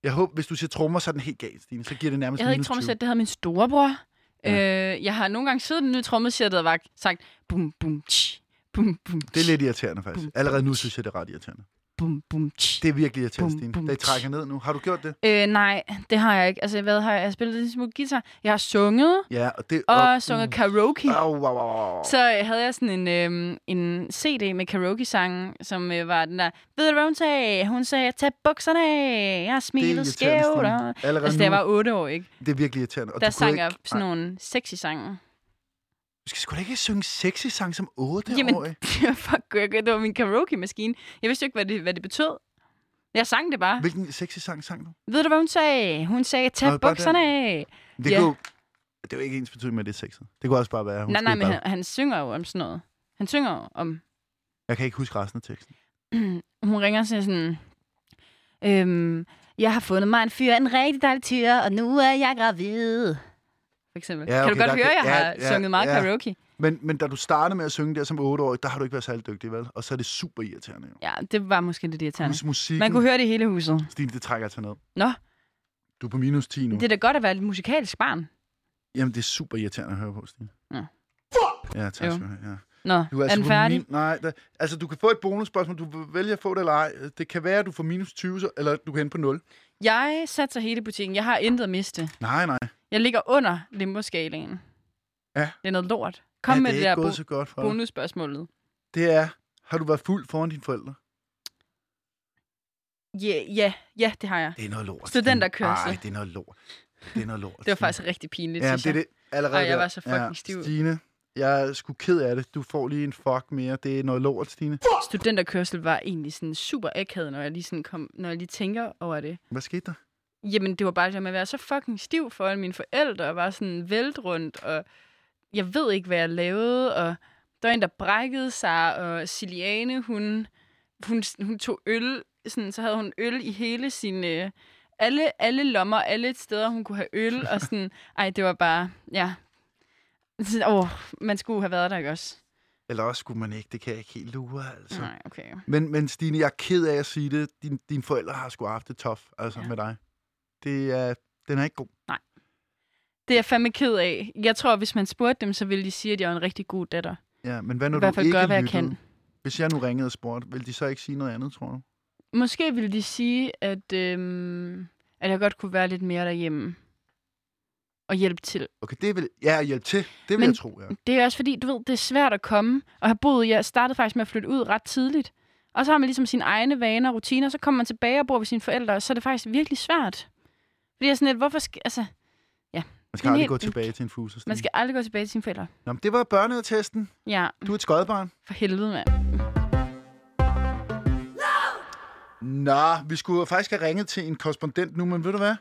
Jeg håber, hvis du siger trommer, så er den helt galt, Stine. Så giver det nærmest Jeg havde ikke minus 20. trommesæt, det havde min storebror. Ja. Øh, jeg har nogle gange siddet i den nye trommesæt og var sagt, bum, bum, tsch, bum, bum, Det er lidt irriterende, faktisk. Bum, Allerede nu bum, synes jeg, det er ret irriterende. bum, bum, tsch. Det er virkelig irriterende, Bum, Stine. bum, Det trækker ned nu. Har du gjort det? Øh, nej, det har jeg ikke. Altså, hvad har jeg? Jeg har spillet lidt smule guitar. Jeg har sunget Ja, og det... og sunget karaoke. Au, au, au, au. Så øh, havde jeg sådan en, øh, en CD med karaoke-sangen, som øh, var den der, ved du hvad hun sagde? Hun sagde, tag bukserne af, jeg har smilet irriterende, skævt. Stine. og-" Allerede Altså, da jeg nu. var otte år, ikke? Det er virkelig irriterende. Og Der du kunne sang ikke... jeg sådan Nej, nogle sexy sange. Du skal sgu da ikke synge sexy sang som 8 Jamen, år. fuck, jeg- det var min karaoke-maskine. Jeg vidste jo ikke, hvad det, hvad det betød. Jeg sang det bare. Hvilken sexy sang sang du? Ved du, hvad hun sagde? Hun sagde, tag Nå, bare den. bukserne af. Det, Ja. kunne, jo- det er jo ikke ens betydning med, at det er sexet. Det kunne også bare være, at hun Nej, nej, spillede men ballad. han, han synger jo om sådan noget. Han synger jo om... Jeg kan ikke huske resten af teksten. Hun ringer og siger sådan... Øhm, jeg har fundet mig en fyr, en rigtig dejlig tyr, og nu er jeg gravid. For eksempel. Ja, Ja, okay, okay, kan du der godt høre, kan- at jeg ja, har ja, sunget meget ja. karaoke? Men, men da du startede med at synge der som 8-årig, der har du ikke været særlig dygtig, vel? Og så er det super irriterende, jo. Ja, det var måske lidt irriterende. Mus- musikken, Man kunne høre det i hele huset. Stine, det trækker altså ned. Nå, Du er på minus 10 nu. det er Det... da godt at være et musikalsk barn. Jamen, det er super irriterende at høre på, Stine. Nå. Ja, tak skal Jo. du have. Ja. Nå, Du er, altså er den på færdig? min- Nej, da, altså du kan få et bonusspørgsmål, du vil vælge at få det eller ej. Det kan være, at du får minus 20, så- eller du kan ende på 0. Jeg satser hele butikken. Jeg har intet at miste. Nej, nej. Jeg ligger under limboskalaen. Ja. Det er noget lort. Kom ja, ja, med det det, er der ikke gået bo- så godt for dig. bonusspørgsmålet. Det er, har du været fuld foran dine forældre? Ja, ja, ja, det har jeg. Det er noget lort. Studenterkørsel. Nej, det er noget lort. Det er noget lort. Det var faktisk rigtig pinligt, Ja, men synes det er jeg. det allerede. Ej, jeg der. var så fucking stiv. Stine, jeg er sgu ked af det. Du får lige en fuck mere. Det er noget lort, Stine. Studenterkørsel var egentlig sådan super akavet, når jeg lige, sådan kom, når jeg lige tænker over det. Hvad skete der? Jamen, det var bare det der med at være så fucking stiv foran mine forældre, og bare sådan vælt rundt, og jeg ved ikke, hvad jeg lavede, og der var en, der brækkede sig, og Siliane, hun, hun, hun tog øl, sådan, så havde hun øl i hele sin... Øh, alle, alle lommer, alle steder, hun kunne have øl, og sådan, ej, det var bare, ja. Sådan, Åh, man skulle have været der, ikke også? Eller også skulle man ikke. Det kan jeg ikke helt lure, altså. Nej, okay. Men, men Stine, jeg er ked af at sige det. Din, dine forældre har sgu haft det tough, altså ja. med dig. Det er, den er ikke god. Det er jeg fandme ked af. Jeg tror, hvis man spurgte dem, så ville de sige, at jeg er en rigtig god datter. Ja, men hvad I når hvert du fald ikke gør, hvad jeg lyttede? kan. Hvis jeg nu ringede og spurgte, ville de så ikke sige noget andet, tror du? Måske ville de sige, at, øhm, at jeg godt kunne være lidt mere derhjemme og hjælpe til. Okay, det vil, ja, hjælp til. Det vil Men- jeg tro, ja. Det er også fordi, du ved, det er svært at komme og have boet. Jeg startede faktisk med at flytte ud ret tidligt. Og så har man ligesom sine egne vaner og rutiner, så kommer man tilbage og bor ved sine forældre, og så er det faktisk virkelig svært. Fordi jeg er sådan lidt, hvorfor skal, altså, Man det skal er aldrig helt- gå tilbage til en fuser, Stine. man skal aldrig gå tilbage til sine forældre. Nå, men det var børneattesten. Ja, Du er et skodbarn. for helvede, mand. Nå, vi skulle faktisk have ringet til en korrespondent nu, men ved du hvad?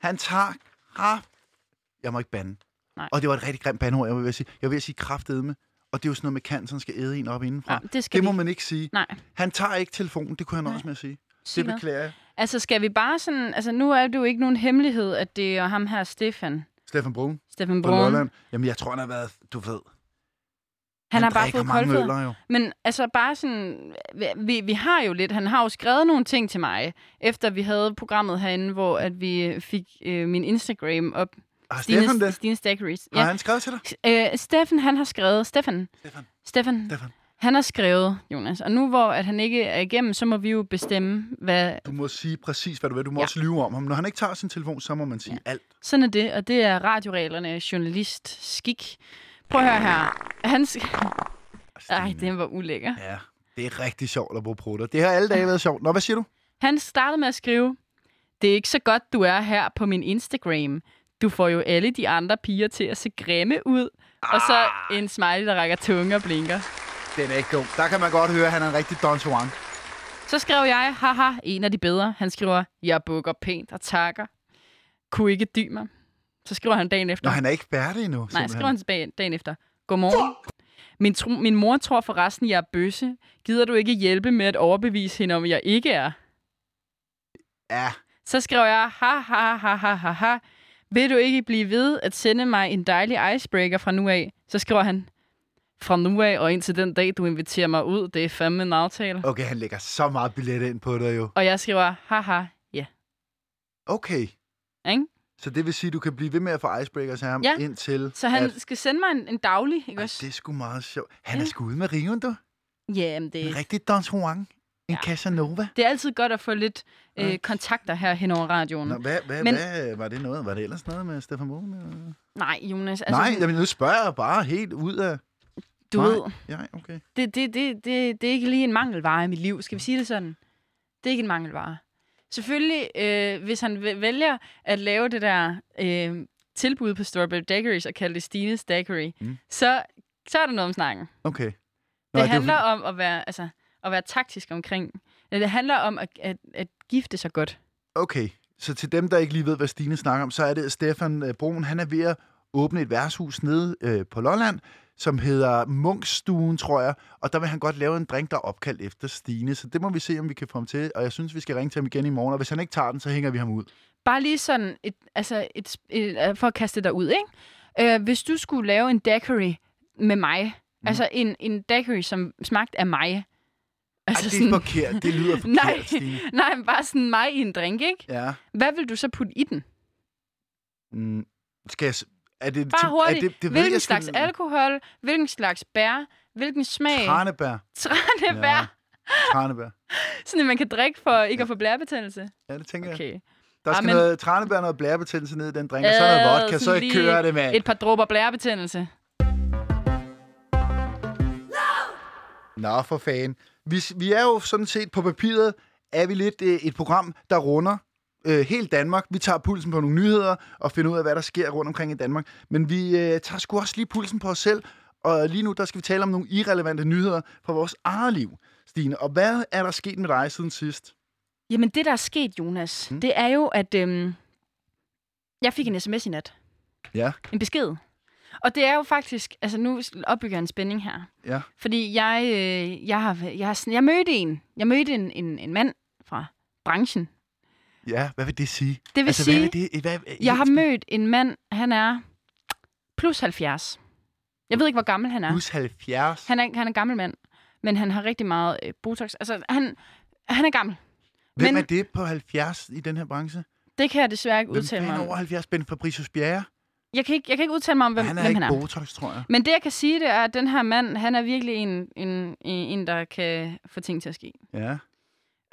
Han tager kraft... Jeg må ikke bande. Nej. Og det var et rigtig grimt bandeord, jeg var ved at sige. Jeg var ved at sige kraftedme. Og det er jo sådan noget med canceren skal æde en op indenfra. Ja, det skal det må de- man ikke sige. Nej, Han tager ikke telefonen, det kunne han Nej. også med at sige. sig Det noget. beklager jeg. Altså, skal vi bare sådan... Altså, nu er det jo ikke nogen hemmelighed, at det er ham her, Stefan. Stefan Brun Stefan på Brun. Lolland. Jamen, jeg tror, han har været, du ved. Han har bare drikker fået mange koldfødder. øller, jo. Men altså bare sådan, vi, vi har jo lidt, han har jo skrevet nogle ting til mig, efter vi havde programmet herinde, hvor at vi fik øh, min Instagram op. Har Stefan det? Stine Stakkeris. Har Ja. han skrevet til dig? Øh, Steffen, han har skrevet, Steffen, Stefan, Steffen, Stefan, han har skrevet, Jonas. Og nu hvor at han ikke er igennem, så må vi jo bestemme, hvad... du må sige præcis, hvad du vil. Du må Ja. også lyve om ham. Når han ikke tager sin telefon, så må man sige alt. Sådan er det, og det er radioreglerne, journalist, skik. Prøv at høre her. Han... sk- Ej, Stine. den var ulækker. Ja, det er rigtig sjovt at bruge prutter. Det har alle dage været sjovt. Nå, hvad siger du? Han startede med at skrive, det er ikke så godt, du er her på min Instagram. Du får jo alle de andre piger til at se grimme ud. Ah. Og så en smiley, der rækker tunge og blinker. Den er ikke god. Der kan man godt høre, at han er en rigtig Don Juan. Så skrev jeg, haha, en af de bedre. Han skriver, jeg bukker pænt og takker. Kunne ikke dy mig. Så skriver han dagen efter. Nå, han er ikke færdig endnu. Nej, jeg simpelthen. skriver han tilbage dagen efter. Godmorgen. Min, tro, min mor tror forresten, jeg er bøsse. Gider du ikke hjælpe med at overbevise hende om, at jeg ikke er? Ja, Så skrev jeg, ha, ha, ha, ha, ha, ha. Vil du ikke blive ved at sende mig en dejlig icebreaker fra nu af? Så skriver han, fra nu af og indtil den dag, du inviterer mig ud, det er fandme en aftale. okay, han lægger så meget billet ind på dig jo. Og jeg skriver, haha, ja. Okay, Ikke? så det vil sige, at du kan blive ved med at få icebreakers af ham Ja. indtil... Så han At... at... skal sende mig en, en daglig, ikke Ej, også? det er sgu meget sjovt. Han Ja. er sgu ude med riven, du. Ja, men det, En rigtig Don Juan. En Ja. Casanova. det er altid godt at få lidt Okay. øh, kontakter her hen over radioen. Nå, hvad, hvad, Men... Men- hvad, var det noget? Var det ellers noget med Stefan Mogen? eller? Nej, Jonas, altså, Nej, sådan, jamen, nu spørger jeg bare helt ud af... du nej. ved, Ja, okay. det, det, det, det, det er ikke lige en mangelvare i mit liv. Skal vi sige det sådan? Det er ikke en mangelvare. Selvfølgelig, øh, hvis han væ- vælger at lave det der øh, tilbud på Strawberry Daiquiris og kalde det Stines Daiquiri, Mm. mm. så, så er der noget om snakken. Okay. Nå, det er jo handler om at være, altså, at være taktisk omkring. Eller Det handler om at, at, at gifte sig godt. Okay, så til dem, der ikke lige ved, hvad Stine snakker om, så er det at Stefan øh, Brun, han er ved at åbne et værtshus nede øh, på Lolland, som hedder Munkstuen, tror jeg, og der vil han godt lave en drink, der er opkaldt efter Stine, så det må vi se, om vi kan få ham til, og jeg synes, vi skal ringe til ham igen i morgen, og hvis han ikke tager den, så hænger vi ham ud. Bare lige sådan, et, altså et, sp- et, øh, for at kaste dig ud, ikke? Øh, hvis du skulle lave en daiquiri med mig, mm. altså en, en daiquiri, som smagte af mig. Ej, det er forkert, det lyder forkert, Altså Nej. Stine. Nej, men bare sådan mig i en drink, ikke? Ja. Hvad vil du så putte i den? Mm. Skal jeg, s- er det, Bare til- hurtigt. Er det, det ved hvilken jeg sgu- slags alkohol? Hvilken slags bær? Hvilken smag? Tranebær. Tranebær. Ja. Tranebær. Sådan, at man kan drikke for ikke at få blærebetændelse. Ja, det tænker okay. jeg. Okay. Der skal Ah, men- noget tranebær, noget blærebetændelse ned i den drink, og så noget Øh, vodka, så sådan lige kører det, mand. Et par dråber blærebetændelse. Nå, for fanden. Vi, vi er jo sådan set på papiret, er vi lidt øh, et program, der runder øh, helt Danmark. Vi tager pulsen på nogle nyheder og finder ud af, hvad der sker rundt omkring i Danmark. Men vi øh, tager sgu også lige pulsen på os selv, og lige nu der skal vi tale om nogle irrelevante nyheder fra vores eget liv, Stine. Og hvad er der sket med dig siden sidst? Jamen, det der er sket, Jonas, Mm. mm. det er jo, at øhm, jeg fik en sms i nat. Ja. En besked. Og det er jo faktisk, altså nu opbygger jeg en spænding her. Ja. Fordi jeg, øh, jeg, har, jeg, har, sådan- jeg mødte en. Jeg mødte en, en, en mand fra branchen. Ja, hvad vil det sige? Altså, Det vil sige, hvad vil det, hvad, jeg har mødt en mand, han er plus 70. Jeg ved ikke, hvor gammel han er. Plus 70. Han er, han er en gammel mand, men han har rigtig meget øh, botox. Altså, han, han er gammel. Hvem men- er det på 70 i den her branche? Det kan jeg desværre ikke Hvem udtale mig fanden om. over 70? Ben Fabricius Bjerre? Jeg kan ikke, jeg kan ikke udtale mig om, hvem han er hvem ikke han er. Botox, tror jeg. Men det, jeg kan sige, det er, at den her mand, han er virkelig en, en, en, en der kan få ting til at ske. Ja.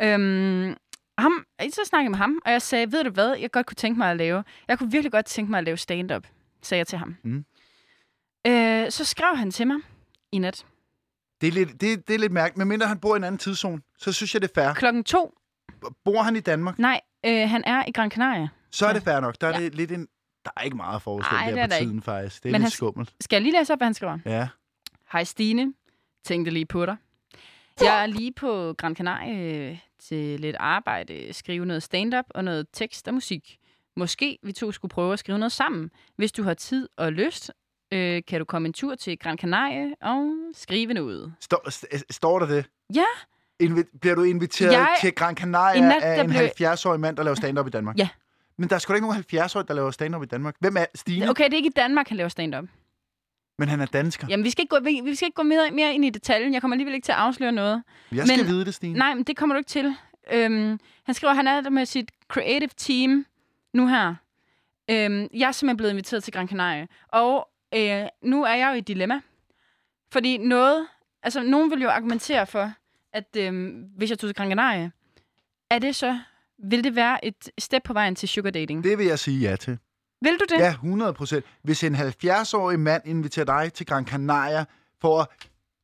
Øhm, ham, så snakkede jeg med ham, og jeg sagde, ved du hvad, jeg godt kunne tænke mig at lave? Jeg kunne virkelig godt tænke mig at lave stand-up, sagde jeg til ham. Mm. Øh, så skrev han til mig i nat. Det er lidt, det, det er lidt mærkeligt. Men mindre han bor i en anden tidszone, så synes jeg, det er fair. Klokken to, Bor han i Danmark, nej, øh, han er i Gran Canaria. så er det fair nok. Der er Ja. det lidt en... Der er ikke meget forskel Ej, Ej, det der er på der tiden, ikke. faktisk. Det er Men lidt han- skummelt. Skal jeg lige læse op, hvad han skriver? Ja. Hej Stine, tænkte lige på dig. Jeg er lige på Gran Canaria øh, til lidt arbejde, skrive noget stand-up og noget tekst og musik. Måske vi to skulle prøve at skrive noget sammen. Hvis du har tid og lyst, øh, kan du komme en tur til Gran Canaria og skrive noget. Står, st- står der det? Ja. Invi- bliver du inviteret Jeg- jeg... til Gran Canaria I nat, af der en blev- 70-årig mand, der laver stand-up i Danmark? Ja. Men der er sgu da ikke nogen 70-årige, der laver stand-up i Danmark. Hvem er Stine? Okay. Okay, det er ikke i Danmark, han laver stand-up. Men han er dansker. Jamen, vi skal ikke gå, vi, vi skal ikke gå mere, mere ind i detaljen. Jeg kommer alligevel ikke til at afsløre noget. Jeg skal men- vide det, Stine. Nej, men det kommer du ikke til. Øhm, han skriver, at han er der med sit creative team nu her. Øhm, jeg er simpelthen blevet inviteret til Gran Canaria. Og øh, nu er jeg jo i et dilemma. Fordi noget... Altså, nogen vil jo argumentere for, at øhm, hvis jeg tog til Gran Canaria, er det så... Vil det være et step på vejen til sugar dating? Det. Det vil jeg sige ja til. Vil du det? Ja, 100 procent. Hvis en 70-årig mand inviterer dig til Gran Canaria for at,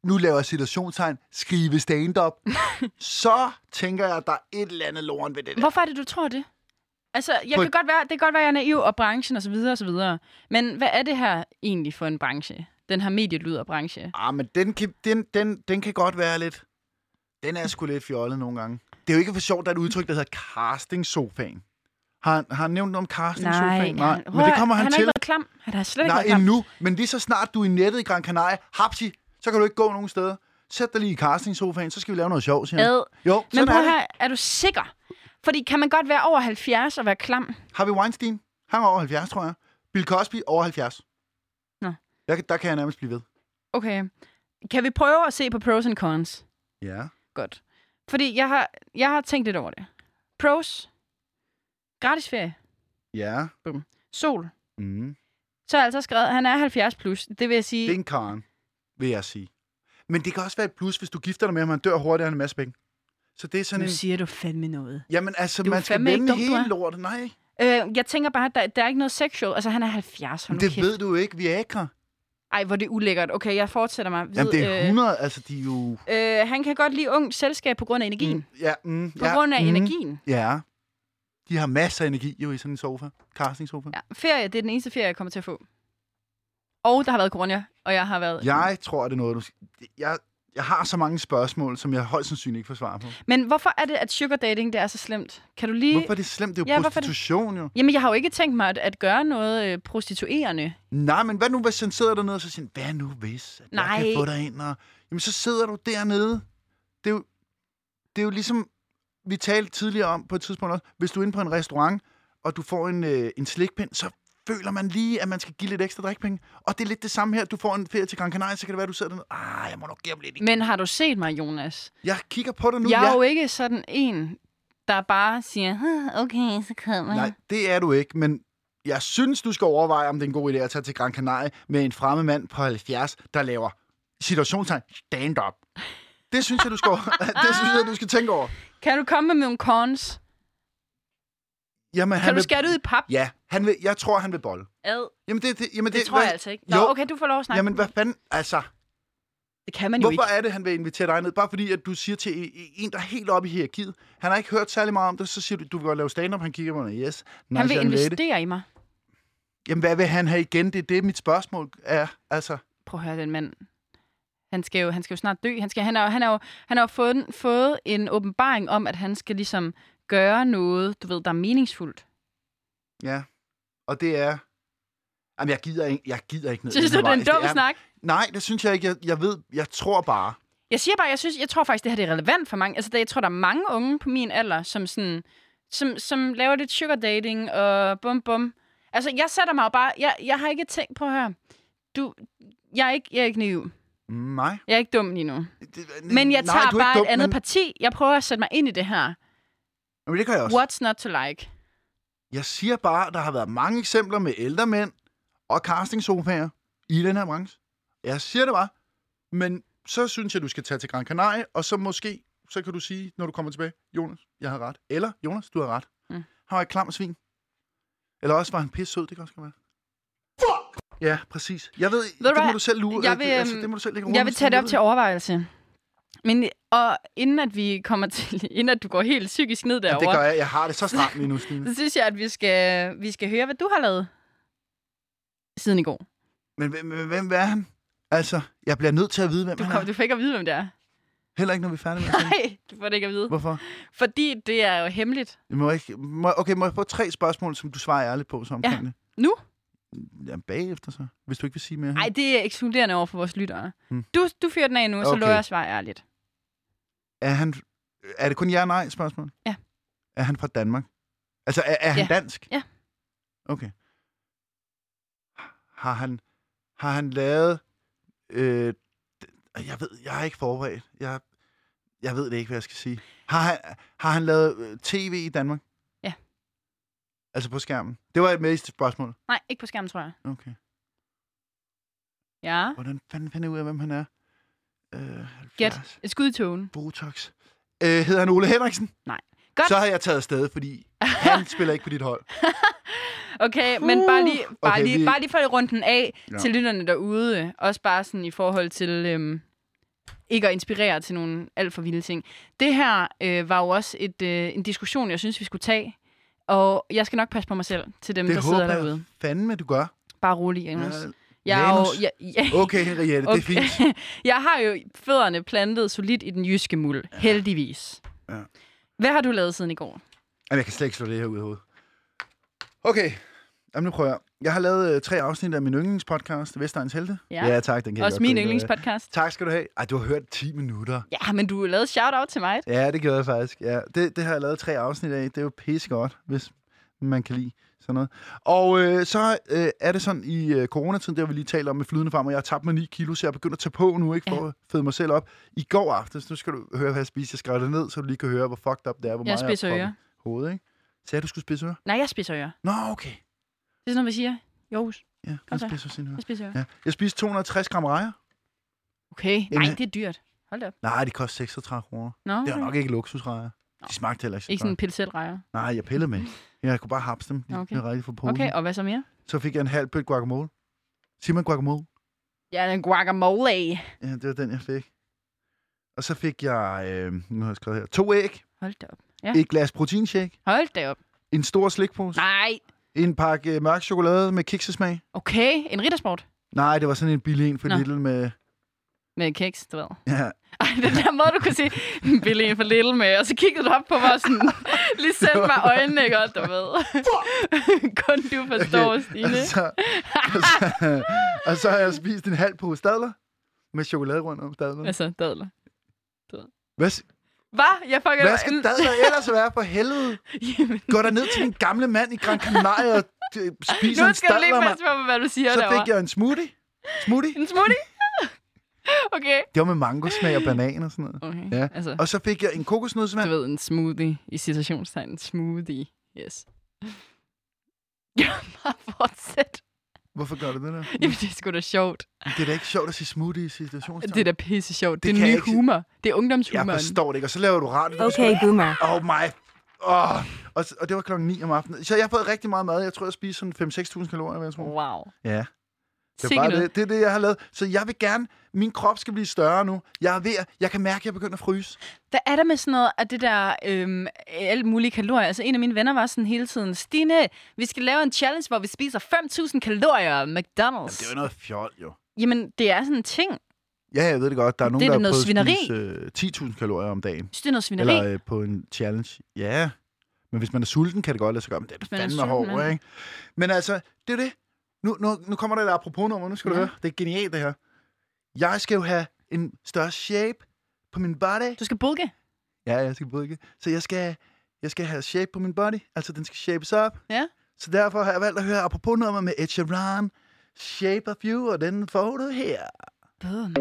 nu laver jeg citationstegn, skrive stand-up, så tænker jeg, at der er et eller andet lorn ved det der. Hvorfor er det, du tror det? Altså, jeg For- kan godt være, det kan godt være, jeg er naiv, og branchen og så videre og så videre. Men hvad er det her egentlig for en branche? Den her medielyderbranche. Ah, men den kan, den, den, den kan godt være lidt... Den er sgu lidt fjollet nogle gange. Det er jo ikke for sjovt, der er et udtryk, der hedder casting-sofaen. Har, han- har han nævnt noget om casting-sofaen? han, men det kommer han, han har til. ikke været klam. Han har slet Nej, ikke været klam. endnu. Men lige så snart du er i nettet i Gran Canaria, hapsi, så kan du ikke gå nogen steder. Sæt dig lige i casting-sofaen, så skal vi lave noget sjovt, siger han. Ad. Jo, Men sådan er prøv det. her, er du sikker? Fordi kan man godt være over 70 og være klam? Harvey Weinstein, han var over 70, tror jeg. Bill Cosby, over 70. Nå. Jeg, kan- der kan jeg nærmest blive ved. Okay. Kan vi prøve at se på pros and cons? Ja. Godt. Fordi jeg har, jeg har tænkt lidt over det. Pros. Gratis ferie. Ja. Sol. Mm. Så har jeg altså skrevet, at han er 70 plus. Det vil jeg sige... Det er en karen, vil jeg sige. Men det kan også være et plus, hvis du gifter dig med ham, og han dør hurtigere end en masse penge. Så det er sådan Nu en... siger du fandme noget. Jamen altså, Du er man skal fandme ikke vende dum, du hele er. lortet. Nej, Øh, jeg tænker bare, at der, der er ikke noget sexual. Altså, han er 70. men Hold nu det kæft. ved du ikke. Viagra. Ej, hvor er det ulækkert. Okay, jeg fortsætter mig. Vid, Jamen, det er 100. Altså, de er jo... Øh, øh, han kan godt lide ung selskab på grund af energien. Mm, ja, mm, På ja, grund af mm, energien. Ja. De har masser af energi jo i sådan en sofa. Casting-sofa. Ja, ferie, det er den eneste ferie, jeg kommer til at få. Og der har været corona, og jeg har været... Jeg tror, det er noget, du... Jeg, jeg har så mange spørgsmål, som jeg højst sandsynligt ikke får svar på. Men hvorfor er det, at sugar dating, det er så slemt? Kan du lige... Hvorfor er det slemt? Det er jo Ja, ja, hvorfor er det- prostitution, jo. Jamen, jeg har jo ikke tænkt mig at, at gøre noget øh, prostituerende. Nej, men hvad nu, hvis han sidder dernede og så siger, han, hvad nu hvis, at jeg Nej. kan få dig ind? Og, jamen, så sidder du dernede. Det er, jo, det er jo ligesom, vi talte tidligere om på et tidspunkt også, hvis du er inde på en restaurant, og du får en, øh, en slikpind, så føler man lige, at man skal give lidt ekstra drikpenge. Og det er lidt det samme her. Du får en ferie til Gran Canaria, så kan det være, at du sidder dernede. Ah, jeg må nok give ham lidt. i-" Men har du set mig, Jonas? Jeg kigger på dig nu. jeg er ja. jo ikke sådan en, der bare siger, "Huh, okay, så kommer jeg. Nej, det er du ikke, men jeg synes, du skal overveje, om det er en god idé at tage til Gran Canaria med en fremmed mand på 70, der laver situationstegn, stand-up. Det synes jeg, du skal, det synes jeg, du skal tænke over. Kan du komme med nogle cons? Jamen, Kan du skære det ud i pap? Ja, han vil, jeg tror, han vil bolle. Ad. Jamen, det, det, jamen, Det, det, det tror hvad, jeg altså ikke. Nå, jo. okay, du får lov at snakke. Jamen, hvad fanden? Altså, Det kan man jo Hvorfor ikke. er det, han vil invitere dig ned? Bare fordi, at du siger til en- en, der er helt oppe i hierarkiet, han har ikke hørt særlig meget om det, så siger du, du vil godt lave stand-up, han kigger på mig, yes. Nice Han vil young lady. investere i mig. Jamen, hvad vil han have igen? Det er det, mit spørgsmål er. Altså, Prøv at høre den mand. Han skal jo, han skal jo snart dø. Han, skal, han, har, jo- han, har, jo, han har jo fået, en- fået en åbenbaring om, at han skal ligesom gøre noget, du ved, der er meningsfuldt. ja. Og det er... Jamen, jeg gider ikke, jeg gider ikke ned. Synes den du, her det er en vej. dum er- snak? Nej, det synes jeg ikke. Jeg, jeg ved, jeg tror bare... Jeg siger bare, jeg, synes, jeg tror faktisk, det her det er relevant for mange. Altså, der, jeg tror, der er mange unge på min alder, som, sådan, som, som laver lidt sugar dating og bum bum. Altså, jeg sætter mig jo bare... Jeg, jeg har ikke tænkt på her. Du, jeg er ikke, jeg er ikke naiv. mm, Nej. Jeg er ikke dum lige nu. Det, Men jeg nej, tager du er bare ikke dum, et andet men, parti. Jeg prøver at sætte mig ind i det her. Jamen, det gør jeg også. What? What's not to like? Jeg siger bare, at der har været mange eksempler med ældre mænd og castingsofaer i den her branche. Jeg siger det bare. Men så synes jeg, du skal tage til Gran Canaria, og så måske, så kan du sige, når du kommer tilbage, Jonas, jeg havde ret. Eller, Jonas, du havde ret. Mm. Mm. Han var et klam svin. Eller også var han pisse sød, det kan også godt være. Ja, præcis. Jeg ved, ved det du må hvad? du selv lure. Jeg øh, det- vil, altså, øhm, det må du selv lægge Jeg rundt, vil hvis tage du det op ved til overvejelse. Men, og inden at vi kommer til, inden at du går helt psykisk ned Jamen, Det derovre, gør jeg. Jeg har det så stramt lige nu, Stine. så synes jeg, at vi skal, vi skal høre, hvad du har lavet siden i går. Men hvem, hvem- hvem er han? Altså, jeg bliver nødt til at vide, hvem Du, han kom, er. du får ikke at vide, hvem det er. Heller ikke, når vi er færdige med at sende. Nej, du får det ikke at vide. Hvorfor? Fordi det er jo hemmeligt. Jeg må ikke, må, okay, må jeg få tre spørgsmål, som du svarer ærligt på så omkring det? Nu? Jamen, bagefter så, hvis du ikke vil sige mere. Nej, det er ekskluderende over for vores lyttere. Hmm. Du, du fyrer den af nu, så Okay. lover jeg at svare ærligt. Er, han, er det kun ja og nej spørgsmål? Ja. Er han fra Danmark? Altså, er, er han Ja. dansk? Ja. Okay. Har han, har han lavet... Øh, d- jeg ved, jeg er ikke forberedt. Jeg, jeg ved det ikke, hvad jeg skal sige. Har han, har han lavet øh, tv i Danmark? Ja. Altså på skærmen? Det var et mest spørgsmål. Nej, ikke på skærmen, tror jeg. Okay. Ja. Hvordan fanden finder jeg ud af, hvem han er? Øh, Gæt. 70. Et skud i togen. Botox. Øh, hedder han Ole Henriksen? Nej. Godt. Så har jeg taget afsted, fordi han spiller ikke på dit hold. Okay, men bare lige, bare Okay, lige, vi- bare lige for at runde den af ja. Ja. til lytterne derude. øh, Også bare sådan i forhold til øhm, ikke at inspirere til nogle alt for vilde ting. Det her øh, var jo også et, øh, en diskussion, jeg synes, vi skulle tage. Og jeg skal nok passe på mig selv til dem, Det der sidder håber derude. jeg fandme, du gør. Bare rolig, Jonas. Ja, Jeg, er jo, Janus. jeg, jeg, Okay, Henriette, okay. det er fint. jeg har jo fødderne plantet solidt i den jyske muld, ja. heldigvis. Ja. Hvad har du lavet siden i går? Jamen, jeg kan slet ikke slå det her ud af hovedet. Okay, Jamen, nu prøver jeg. Jeg har lavet øh, tre afsnit af min yndlingspodcast, Vestegns Helte. Ja. ja tak, den kan jeg Også godt min gå ind og- yndlingspodcast. Tak skal du have. Ej, du har hørt 10 minutter. Ja, men du lavede shout-out til mig. Ja, det gjorde jeg faktisk. Ja, det, det har jeg lavet tre afsnit af. Det er jo pissegodt, hvis man kan lide sådan noget. Og øh, så øh, er det sådan i øh, coronatiden, det har vi lige talt om med flydende farmer. Jeg har tabt mig 9 kilo, så jeg begynder at tage på nu, ikke, for at fede mig selv op. I går aftes, nu skal du høre, hvad jeg spiste. Jeg skrev det ned, så du lige kan høre, hvor fucked up det er, hvor Jeg meget spidser jeg har ører. proppet i hovedet, ikke? Sagde jeg, du skulle spidse ører? Nej, jeg spiser ører. Nå, okay. Det er sådan noget, vi siger. Jo, Ja, jeg Okay. okay. spiser sine ører. jeg spiser ører. Ja. Jeg spiste 260 gram rejer. Okay. Nej, Jamen- det er dyrt. Hold da op. Nej, det koster 36 kroner. Nå, Det var okay. nok ikke luksusrejer. De smagte heller ikke så ikke sådan en godt. pilselrejer. Nej, jeg pillede med. Jeg kunne bare hapse dem. De Okay. okay. blev rigtig for posen. Okay, og hvad så mere? Så fik jeg en halv bøtte guacamole. Sig mig guacamole. Ja, en guacamole. Ja, det var den, jeg fik. Og så fik jeg, øh, nu har jeg skrevet her, to æg, Hold da op. Ja. et glas proteinshake, Hold da op. en stor slikpose, Nej. en pakke øh, mørk chokolade med kiksesmag. Okay, en riddersport Nej, det var sådan en billig en for Nå. Lidl med... med kiks, du ved. Ja, Ej, den der måde, du kunne sige, "Mm, Billy en for lille med, og så kiggede du op på mig og sådan, lige sendte mig øjnene, ikke godt, du ved. Kun du forstår, okay. og Stine. så, og, så, og så har jeg spist en halv pose dadler med chokolade rundt om dadlerne. Altså, dadler. Hvad, s- Hvad? Jeg fucker hvad skal dadler ellers være for helvede? Jamen, Gå der ned til den gamle mand i Gran Canaria og øh, spise nu en skal du lige dadler, mand. passe på, hvad du siger Så derovre. fik jeg en smoothie. Smoothie? En smoothie? okay. Det var med mangosmag og banan og sådan noget. Okay, Ja. altså, Og så fik jeg en kokosnødsvand. du ved, en smoothie, i Mm. citationstegn, smoothie, yes. Ja, bare fortsæt. Hvorfor gør du det der? Jamen, det er sgu da sjovt. Det er da ikke sjovt at sige smoothie i situationstegn. Det er da pisse sjovt. Det, Det er kan ny jeg ikke- humor. Det er Jeg ungdomshumoren. forstår det ikke, og så laver du radio. Okay, boomer. Oh my. Oh. Og, s- og det var klokken 9 om aftenen. Så jeg har fået rigtig meget mad. Jeg tror, jeg spiser sådan 5-6.000 kalorier, vil jeg tro. Wow. Ja. Det er, Sikke bare noget. det. det er det, jeg har lavet. Så jeg vil gerne... Min krop skal blive større nu. Jeg er ved at, Jeg kan mærke, at jeg begynder at fryse. Hvad er der med sådan noget af det der øhm, alt mulige kalorier? Altså en af mine venner var sådan hele tiden, Stine, vi skal lave en challenge, hvor vi spiser 5.000 kalorier McDonald's. Jamen Det er jo noget fjol, jo. Jamen, det er sådan en ting. Jeg Ja, jeg ved det godt. Der er nogen, Det er der da noget at spise øh, 10.000 kalorier om dagen. synes, det er noget svineri. Eller øh, på en challenge. Ja. Men hvis man er sulten, kan det godt lade sig gøre. Men det er man er fandme sulten, hårdt, ja. ikke? Men altså, det er jo det. Nu, nu, nu kommer der et apropos-nummer. Nu skal ja. Ja. du høre. Det er genialt, det her. Jeg skal jo have en større shape på min body. Du skal bulke. Ja, jeg skal brygge. Så jeg skal, jeg skal have shape på min body. Altså, den skal shapes up. Ja. Så derfor har jeg valgt at høre apropos nummer med Ed Sheeran. Shape of you, og den får du her. Bøden.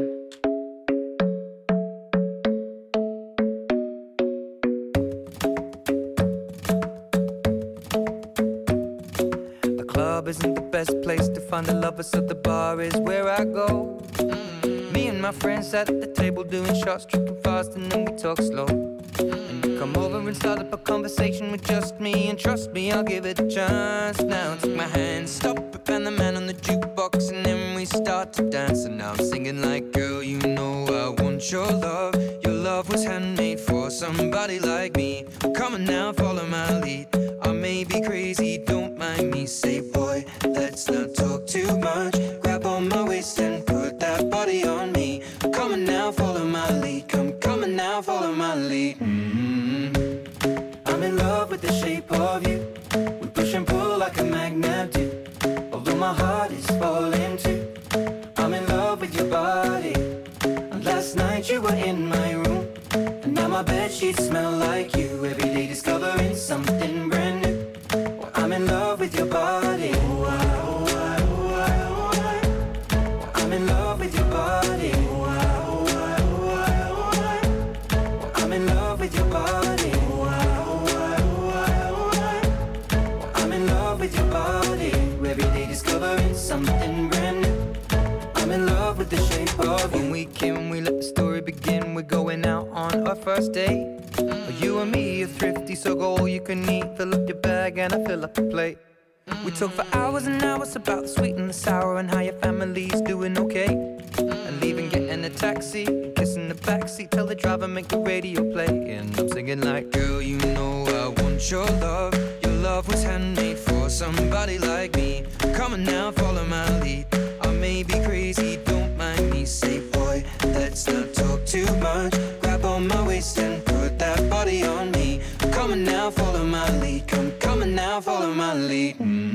The club isn't the best place to find a lover, so the bar is where I go. Me and my friends at the table doing shots, tripping fast, and then we talk slow. And you come over and start up a conversation with just me, and trust me, I'll give it a chance. Now take my hand, stop, and the man on the jukebox, and then we start to dance. And now I'm singing like, girl, you know I want your love. Your love was handmade for somebody like me. Come on now, follow my lead. I may be crazy, don't mind me. Say, boy, let's not talk too much. Grab on my waist and put that body on me. Come on now, follow my lead. Come, come on now, follow my lead. I'm in love with the shape of you. We push and pull like a magnet do. Although my heart is falling too. I'm in love with your body. And last night you were in my room. And now my bed sheets smell like you. Every day discovering something brand new. Well, I'm in love with your body. Oh, I, oh, I, oh, I, oh, I. Well, I'm in love with your body. Oh, I, oh, I, oh, I, oh, I. Well, I'm in love with your body. Oh, I, oh, I, oh, I, oh, I. Well, I'm in love with your body. Every day discovering something brand new. I'm in love with the shape of you. When we can, we let the story begin. We're going out on our first date. You and me are thrifty, so go all you can eat. Fill up your bag and I fill up the plate. We talk for hours and hours about the sweet and the sour and how your family's doing okay. And leaving, getting a taxi, kissing the backseat, tell the driver make the radio play. And I'm singing like, girl, you know I want your love. Your love was handmade for somebody like me. Come on now, follow my lead. I may be crazy, don't mind me. Say, boy, let's not talk too much. Grab on my waist and put that body on me. Come on now, follow my lead. Come, come on now, follow my lead. mm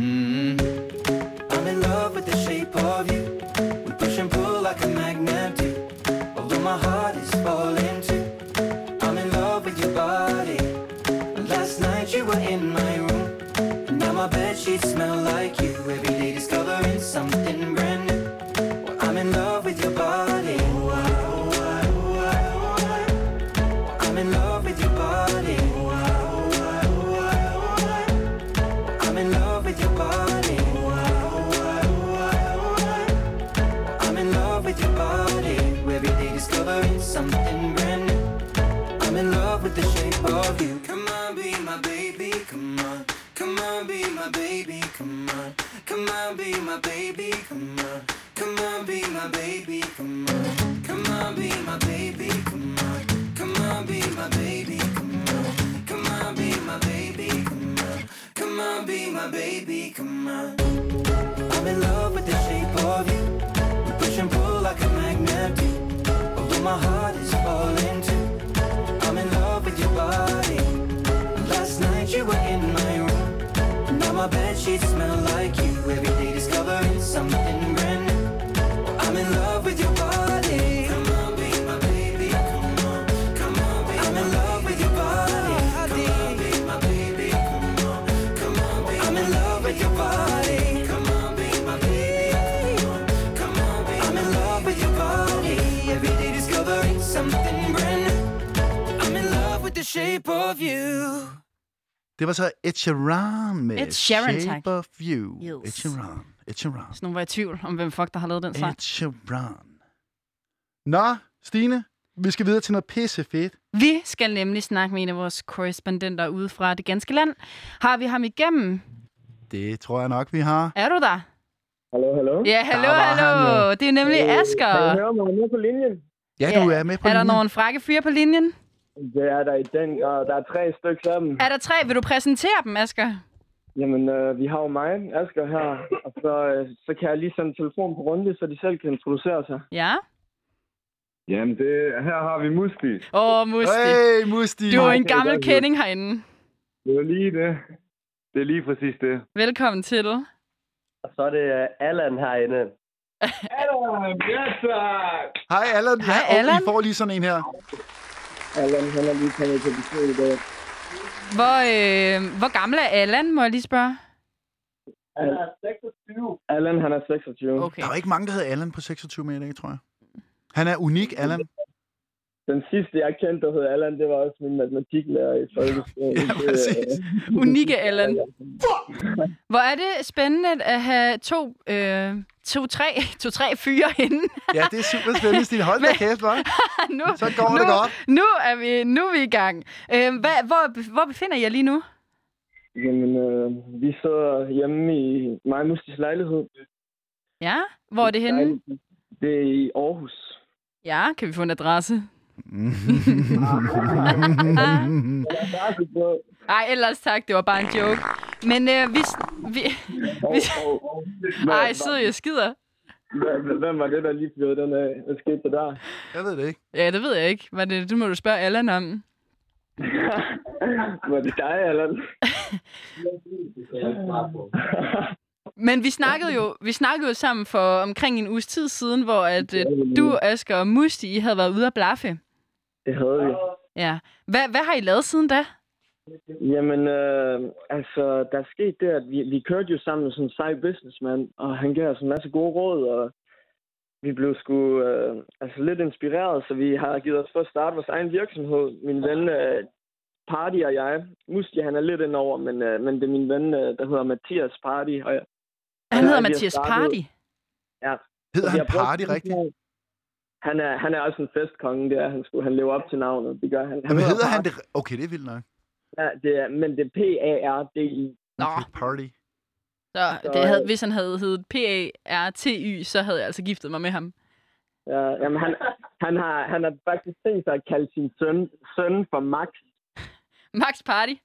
I'm in love with the shape of you. We push and pull like a magnet do. Although my heart is falling too. I'm in love with your body. Last night you were in my room. And now my bed sheets smell like you. Every day discovering something brand new. Well, I'm in love with your body. Oh, I, oh, I, oh, I, oh, I. Well, I'm in love with your body. Oh, I, oh, I, oh, I, oh, I. Well, I'm in love with your body. Oh, I, oh, I, oh, I, oh, I. Well, I'm in love with your body. Every day discovering something brand new. I'm in love with the shape of you. Come on, be my baby, come on. Come on, be my baby, come on. Come on, be my baby, come on. Come on, be my baby, come on. Come on, be my baby, come on. Come on, be my baby, come on. Come on, be my baby, come on. Come on, be my baby, come on. I'm in love with the shape of you. We push and pull like a magnet do. Although my heart is falling too. I'm in love with your body. Last night you were in my room. And now my bed sheets smell like you. Every day discovering something brand new. Well, I'm in love with your body. Come on, be my baby. Come on, come on, be I'm in love with your body. Come on, be my baby. Come on, come on, be I'm in love with your body. Come on, be my baby. Come on, come on, be I'm in love with your body. Every day discovering something brand new. I'm in love with the shape of you. Det var så Ed Sheeran med Ed Sheeran, Shape tak. of You. Yes. Ed Sheeran. Ed Sheeran. Sådan nogen var jeg i tvivl om, hvem fuck, der har lavet den sang. Ed Sheeran. Nå, Stine, vi skal videre til noget pisse fedt. Vi skal nemlig snakke med en af vores korrespondenter ude fra det ganske land. Har vi ham igennem? Det tror jeg nok, vi har. Er du der? Hallo, hallo. Ja, hallo, var han hallo. jo. Det er nemlig Kan I Asger. høre mig nede på linjen? Ja, Ja. du er med på Er der linjen. nogen frække fyre på linjen? Det er der i den grad. Der er tre stykker af dem. Er der tre? Vil du præsentere dem, Asger? Jamen, øh, vi har jo mig, Asger, her. Og så, øh, så kan jeg lige sende telefon på runde, så de selv kan introducere sig. Ja? Jamen, det, her har vi Musti. Åh, oh, Musti. Hey, Musti. Du er jo en det er gammel godt, kending herinde. Det er lige det. Det er lige præcis det. Velkommen til. Og så er det uh, Allan herinde. Adam, yes, tak! Hej, Allan. Hej, Ja, og Allan. I får lige sådan en her. Allan, han er lige kommet på besøg i dag. Hvor, øh, hvor gammel er Allan, må jeg lige spørge? Han er 26. Allan, han er 26. Okay. Okay. Der er jo ikke mange, der hedder Allan på 26 meter, ikke, tror jeg. Han er unik, Allan. Den sidste, jeg kendte, der hed Allan, det var også min matematiklærer i folkeskolen. Ja, Det, øh, præcis. Unikke Allan. Hvor er det spændende at have to, øh, to, tre, to, tre fyre inde. Ja, det er super spændende, Stine. Hold da kæft, hva'? nu, Så går nu, det godt. Nu er vi, nu er vi i gang. Øh, hvad, hvor, hvor befinder jeg lige nu? Jamen, øh, vi sidder hjemme i mig og Mustis lejlighed. Ja, hvor er det henne? Det er i Aarhus. Ja, kan vi få en adresse? Ej, ellers tak, det var bare en joke. Men øh, vi, vi, vi... Ej, sidder jeg skider. Hvem- Hvem var det, der lige fyrede den af? Hvad skete der der? Jeg ved det ikke. Ja, det ved jeg ikke. Var det, det må du spørge Allan om. Var det dig, Allan? Men vi snakkede jo, vi snakkede jo sammen for omkring en uges tid siden, hvor at, øh, du, Asger og Musti, I havde været ude at blaffe. Det havde vi. Ja. Hvad, hvad har I lavet siden da? Jamen, øh, altså, der skete det, at vi, vi kørte jo sammen med sådan en sej businessman, og han gav os en masse gode råd, og vi blev sgu øh, altså lidt inspireret, så vi har givet os for at starte vores egen virksomhed. Min ven øh, Party og jeg. Musti, han er lidt indover, men, øh, men det er min ven, øh, der hedder Mathias Party. Og, jeg- Han Ja, hedder vi har Mathias startet- Party. ja, Hedder Så vi han har brugt Party sådan rigtigt? noget- Han er, han er også en festkonge, det er han sgu. Han lever op til navnet, det gør han. han Jamen, hedder han det? Okay, det er vildt nok. Party. Ja, det er, men det er P-A-R-D-I. Nå, Okay, party. så det havde, hvis han havde heddet P-A-R-T-Y, så havde jeg altså giftet mig med ham. Ja, jamen, han, han, har, han har faktisk tænkt sig at kalde sin søn, søn for Max. Max Party.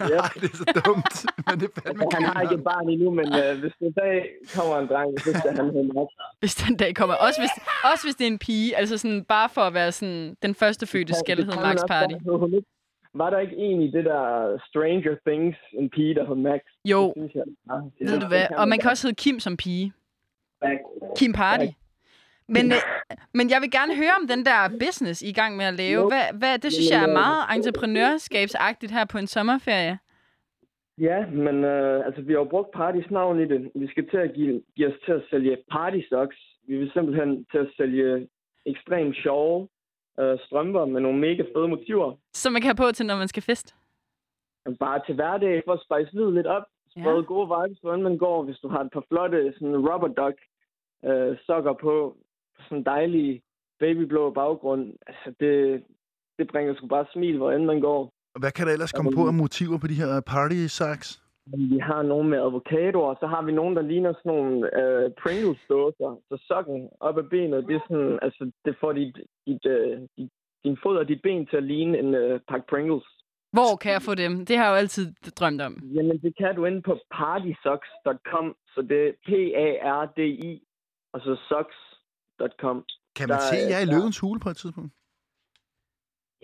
Ej, det er så dumt. Men det er fandme Altså, Han har ikke grineren. et barn endnu, men øh, hvis der en dag kommer en dreng, så skal han hedde Max. Hvis den dag kommer. Også hvis, også hvis det er en pige. Altså sådan, bare for at være sådan, den første fødte skal Det hedde kan Max man også Party. godt, hed hun ikke. Var der ikke en i det der Stranger Things, en pige, der hed Max? Jo, Synes jeg. Ja, det- ved du det hvad? Og man kan godt. også hedde Kim som pige. Kim Party. Men, øh, men jeg vil gerne høre om den der business, I er i gang med at lave. Hvad, hvad, det synes jeg er meget entreprenørskabsagtigt her på en sommerferie. Ja, men øh, altså, vi har jo brugt Partys navn i det. Vi skal til at give, give os til at sælge Party Socks. Vi vil simpelthen til at sælge ekstremt sjove øh, strømper med nogle mega fede motiver. Som man kan have på til, når man skal fest. bare til hverdag, for at spice livet lidt op. Sprede Ja. ja. gode vibes, hvordan man går, hvis du har et par flotte sådan rubber duck øh, sokker på, sådan en dejlig babyblå baggrund. Altså, det, det bringer sgu bare smil, hvor end man går. Hvad kan der ellers komme på af motiver på de her party sacks? Vi har nogen med avocadoer, og så har vi nogen, der ligner sådan nogle øh, Pringles-dåser. Så sokken op ad benet, det, er sådan, altså, det får dit, dit, øh, dit, din fod og dit ben til at ligne en øh, pakke Pringles. Hvor kan jeg få dem? Det har jeg jo altid drømt om. Jamen, det kan du inde på partysocks.com, så det er P-A-R-D-I, og så socks.com. Kan man Der se er- jer i der- løvens hule på et tidspunkt?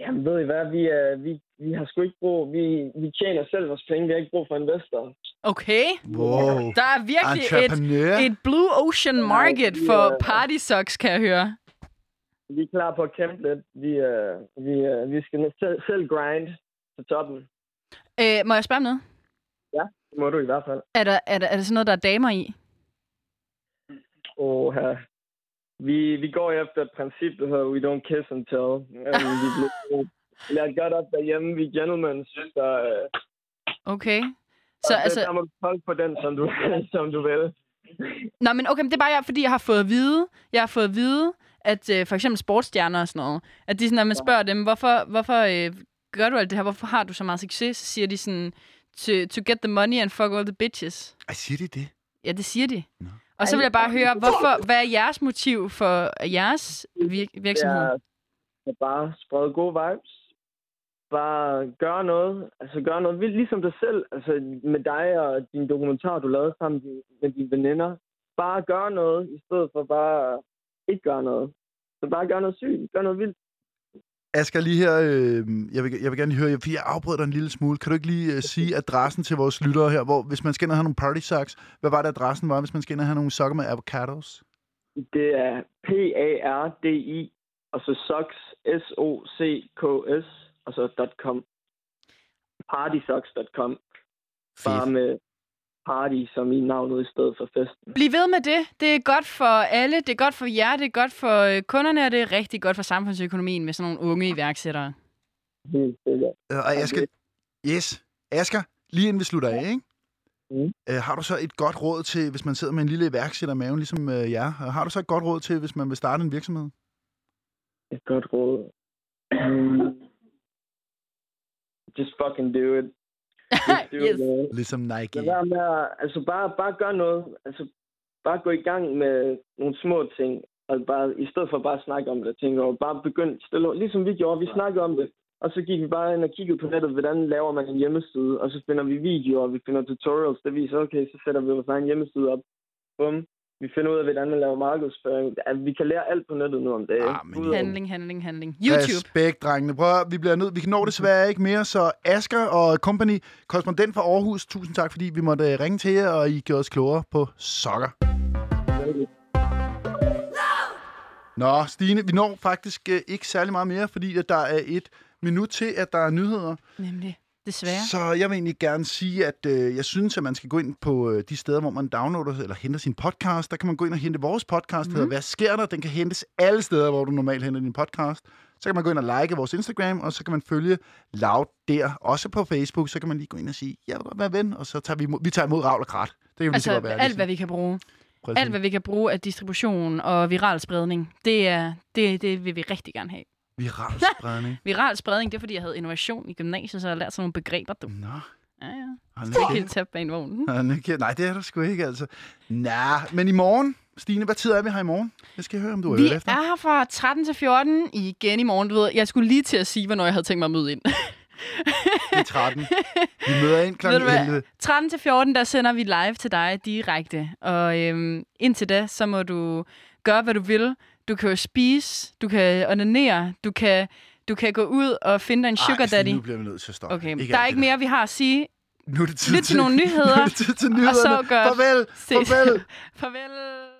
Jamen, ved I hvad, vi, er, vi, vi har sgu ikke brug, vi, vi tjener selv vores penge, vi har ikke brug for investorer. Okay. Wow. Der er virkelig et, Entreprenør. et blue ocean market vi, for øh, party socks, kan jeg høre. Vi er klar på at kæmpe lidt, vi, øh, vi, øh, vi skal selv, selv grind til toppen. Øh, må jeg spørge om noget? Det må du i hvert fald. Er der, er, der, er der sådan noget, der er damer i? Og her. Vi, vi går efter et princip, der hedder We don't kiss and tell. Øhm, vi bliver lært godt op derhjemme, vi er gentlemen, så... Øh, Okay. Så og det- altså, Der må du holde på den, som du, som du vil. Nå, men okay, men det er bare, jeg, fordi jeg har fået at vide, jeg har fået at vide, at øh, for eksempel sportsstjerner og sådan noget, at de sådan, når man spørger dem, hvorfor, hvorfor øh, gør du alt det her, hvorfor har du så meget succes, så siger de sådan, to, to get the money and fuck all the bitches. Ej, siger de det? Ja, det siger de. Og så vil jeg bare høre, hvorfor, hvad er jeres motiv for jeres vir- virksomhed? er at bare sprede gode vibes. Bare gøre noget. Altså gøre noget vildt, ligesom dig selv. Altså med dig og din dokumentar, du lavede sammen med din- med dine veninder. Bare gøre noget, i stedet for bare ikke gøre noget. Så bare gøre noget sygt. Gør noget vildt. Asger, lige her, øh, jeg, vil, jeg vil gerne lige høre, fordi jeg afbrød dig en lille smule. Kan du ikke lige øh, sige adressen til vores lyttere her, hvor hvis man skal ind og have nogle party socks, hvad var det adressen var, hvis man skal ind og have nogle sokker med avocados? Det er P-A-R-D-I, og så socks, S-O-C-K-S, og så .com. Partysocks.com. Bare Fedt. med party som i navnet i stedet for festen. Bliv ved med det. Det er godt for alle, det er godt for jer, det er godt for øh, kunderne, og det er rigtig godt for samfundsøkonomien med sådan nogle unge iværksættere. Helt sikkert. Øh, og Asger, yes, Asger, lige inden vi slutter af, ikke? Mm. Øh, har du så et godt råd til, hvis man sidder med en lille iværksætter i maven, ligesom øh, jer? Har du så et godt råd til, hvis man vil starte en virksomhed? Et godt råd. Mm. Just fucking do it. Just do Yes. it. man. Ligesom Nike. Lad være med at, altså bare, bare gør noget. Altså bare gå i gang med nogle små ting. Og bare, i stedet for bare at snakke om det, tænker over, bare begynd stille og- Ligesom vi gjorde, vi snakkede om det. Og så gik vi bare ind og kiggede på nettet, hvordan laver man en hjemmeside. Og så finder vi videoer, vi finder tutorials, der viser, okay, så sætter vi vores egen hjemmeside op. Bum. Vi finder ud af, hvordan man laver markedsføring. Altså, vi kan lære alt på nettet nu om dagen. Ah, men Udover- Handling, handling, handling. YouTube. Respekt, drengene. Prøv at, høre, vi bliver nødt. Vi når desværre ikke mere, så Asker og company, korrespondent fra Aarhus, tusind tak, fordi vi måtte øh, ringe til jer, og I gjorde os klogere på sokker. Nå, Stine, vi når faktisk øh, ikke særlig meget mere, fordi at der er et minut til, at der er nyheder. Nemlig. Desværre. Så jeg vil egentlig gerne sige, at øh, jeg synes, at man skal gå ind på øh, de steder, hvor man downloader eller henter sin podcast. Der kan man gå ind og hente vores podcast, mm. Mhm. hedder Hvad sker der? Den kan hentes alle steder, hvor du normalt henter din podcast. Så kan man gå ind og like vores Instagram, og så kan man følge Loud der. Også på Facebook, så kan man lige gå ind og sige, jeg vil godt være ven, og så tager vi, imod, vi tager imod Ravl og Krat. Det kan vi Altså, lige så godt være. ligesom- alt hvad vi kan bruge. vi, Alt hvad vi kan bruge af distribution og viral spredning, det, er, det, det vil vi rigtig gerne have. vi rammer Viral spredning, det er fordi, jeg havde innovation i gymnasiet, så jeg har lært sådan nogle begreber. Du. Nå, Ja, ja. hold Det nu er kæft. helt tabt bag en vogn. Hold nu kæft. Nej, det er der sgu ikke, altså. Nej, men i morgen, Stine, hvad tid er vi her i morgen? Jeg skal høre, om du er Vi øvet efter. er her fra 13 til 14 igen i morgen. Du ved, jeg skulle lige til at sige, hvornår jeg havde tænkt mig at møde ind. Det er 13. Vi møder ind kl. Ved du hvad? 11. 13 til 14, der sender vi live til dig direkte. Og øhm, indtil da, så må du gøre, hvad du vil. Du kan jo spise, du kan onanere, du kan, du kan gå ud og finde dig en sugar Ej, Stine, daddy. nu bliver vi nødt til at stoppe. Okay, der er alt ikke det mere, vi har at sige. der. Nu er det tid Lyt til nogle nyheder, nu er det tid til nyhederne. gør- Farvel, Ses. farvel. Farvel.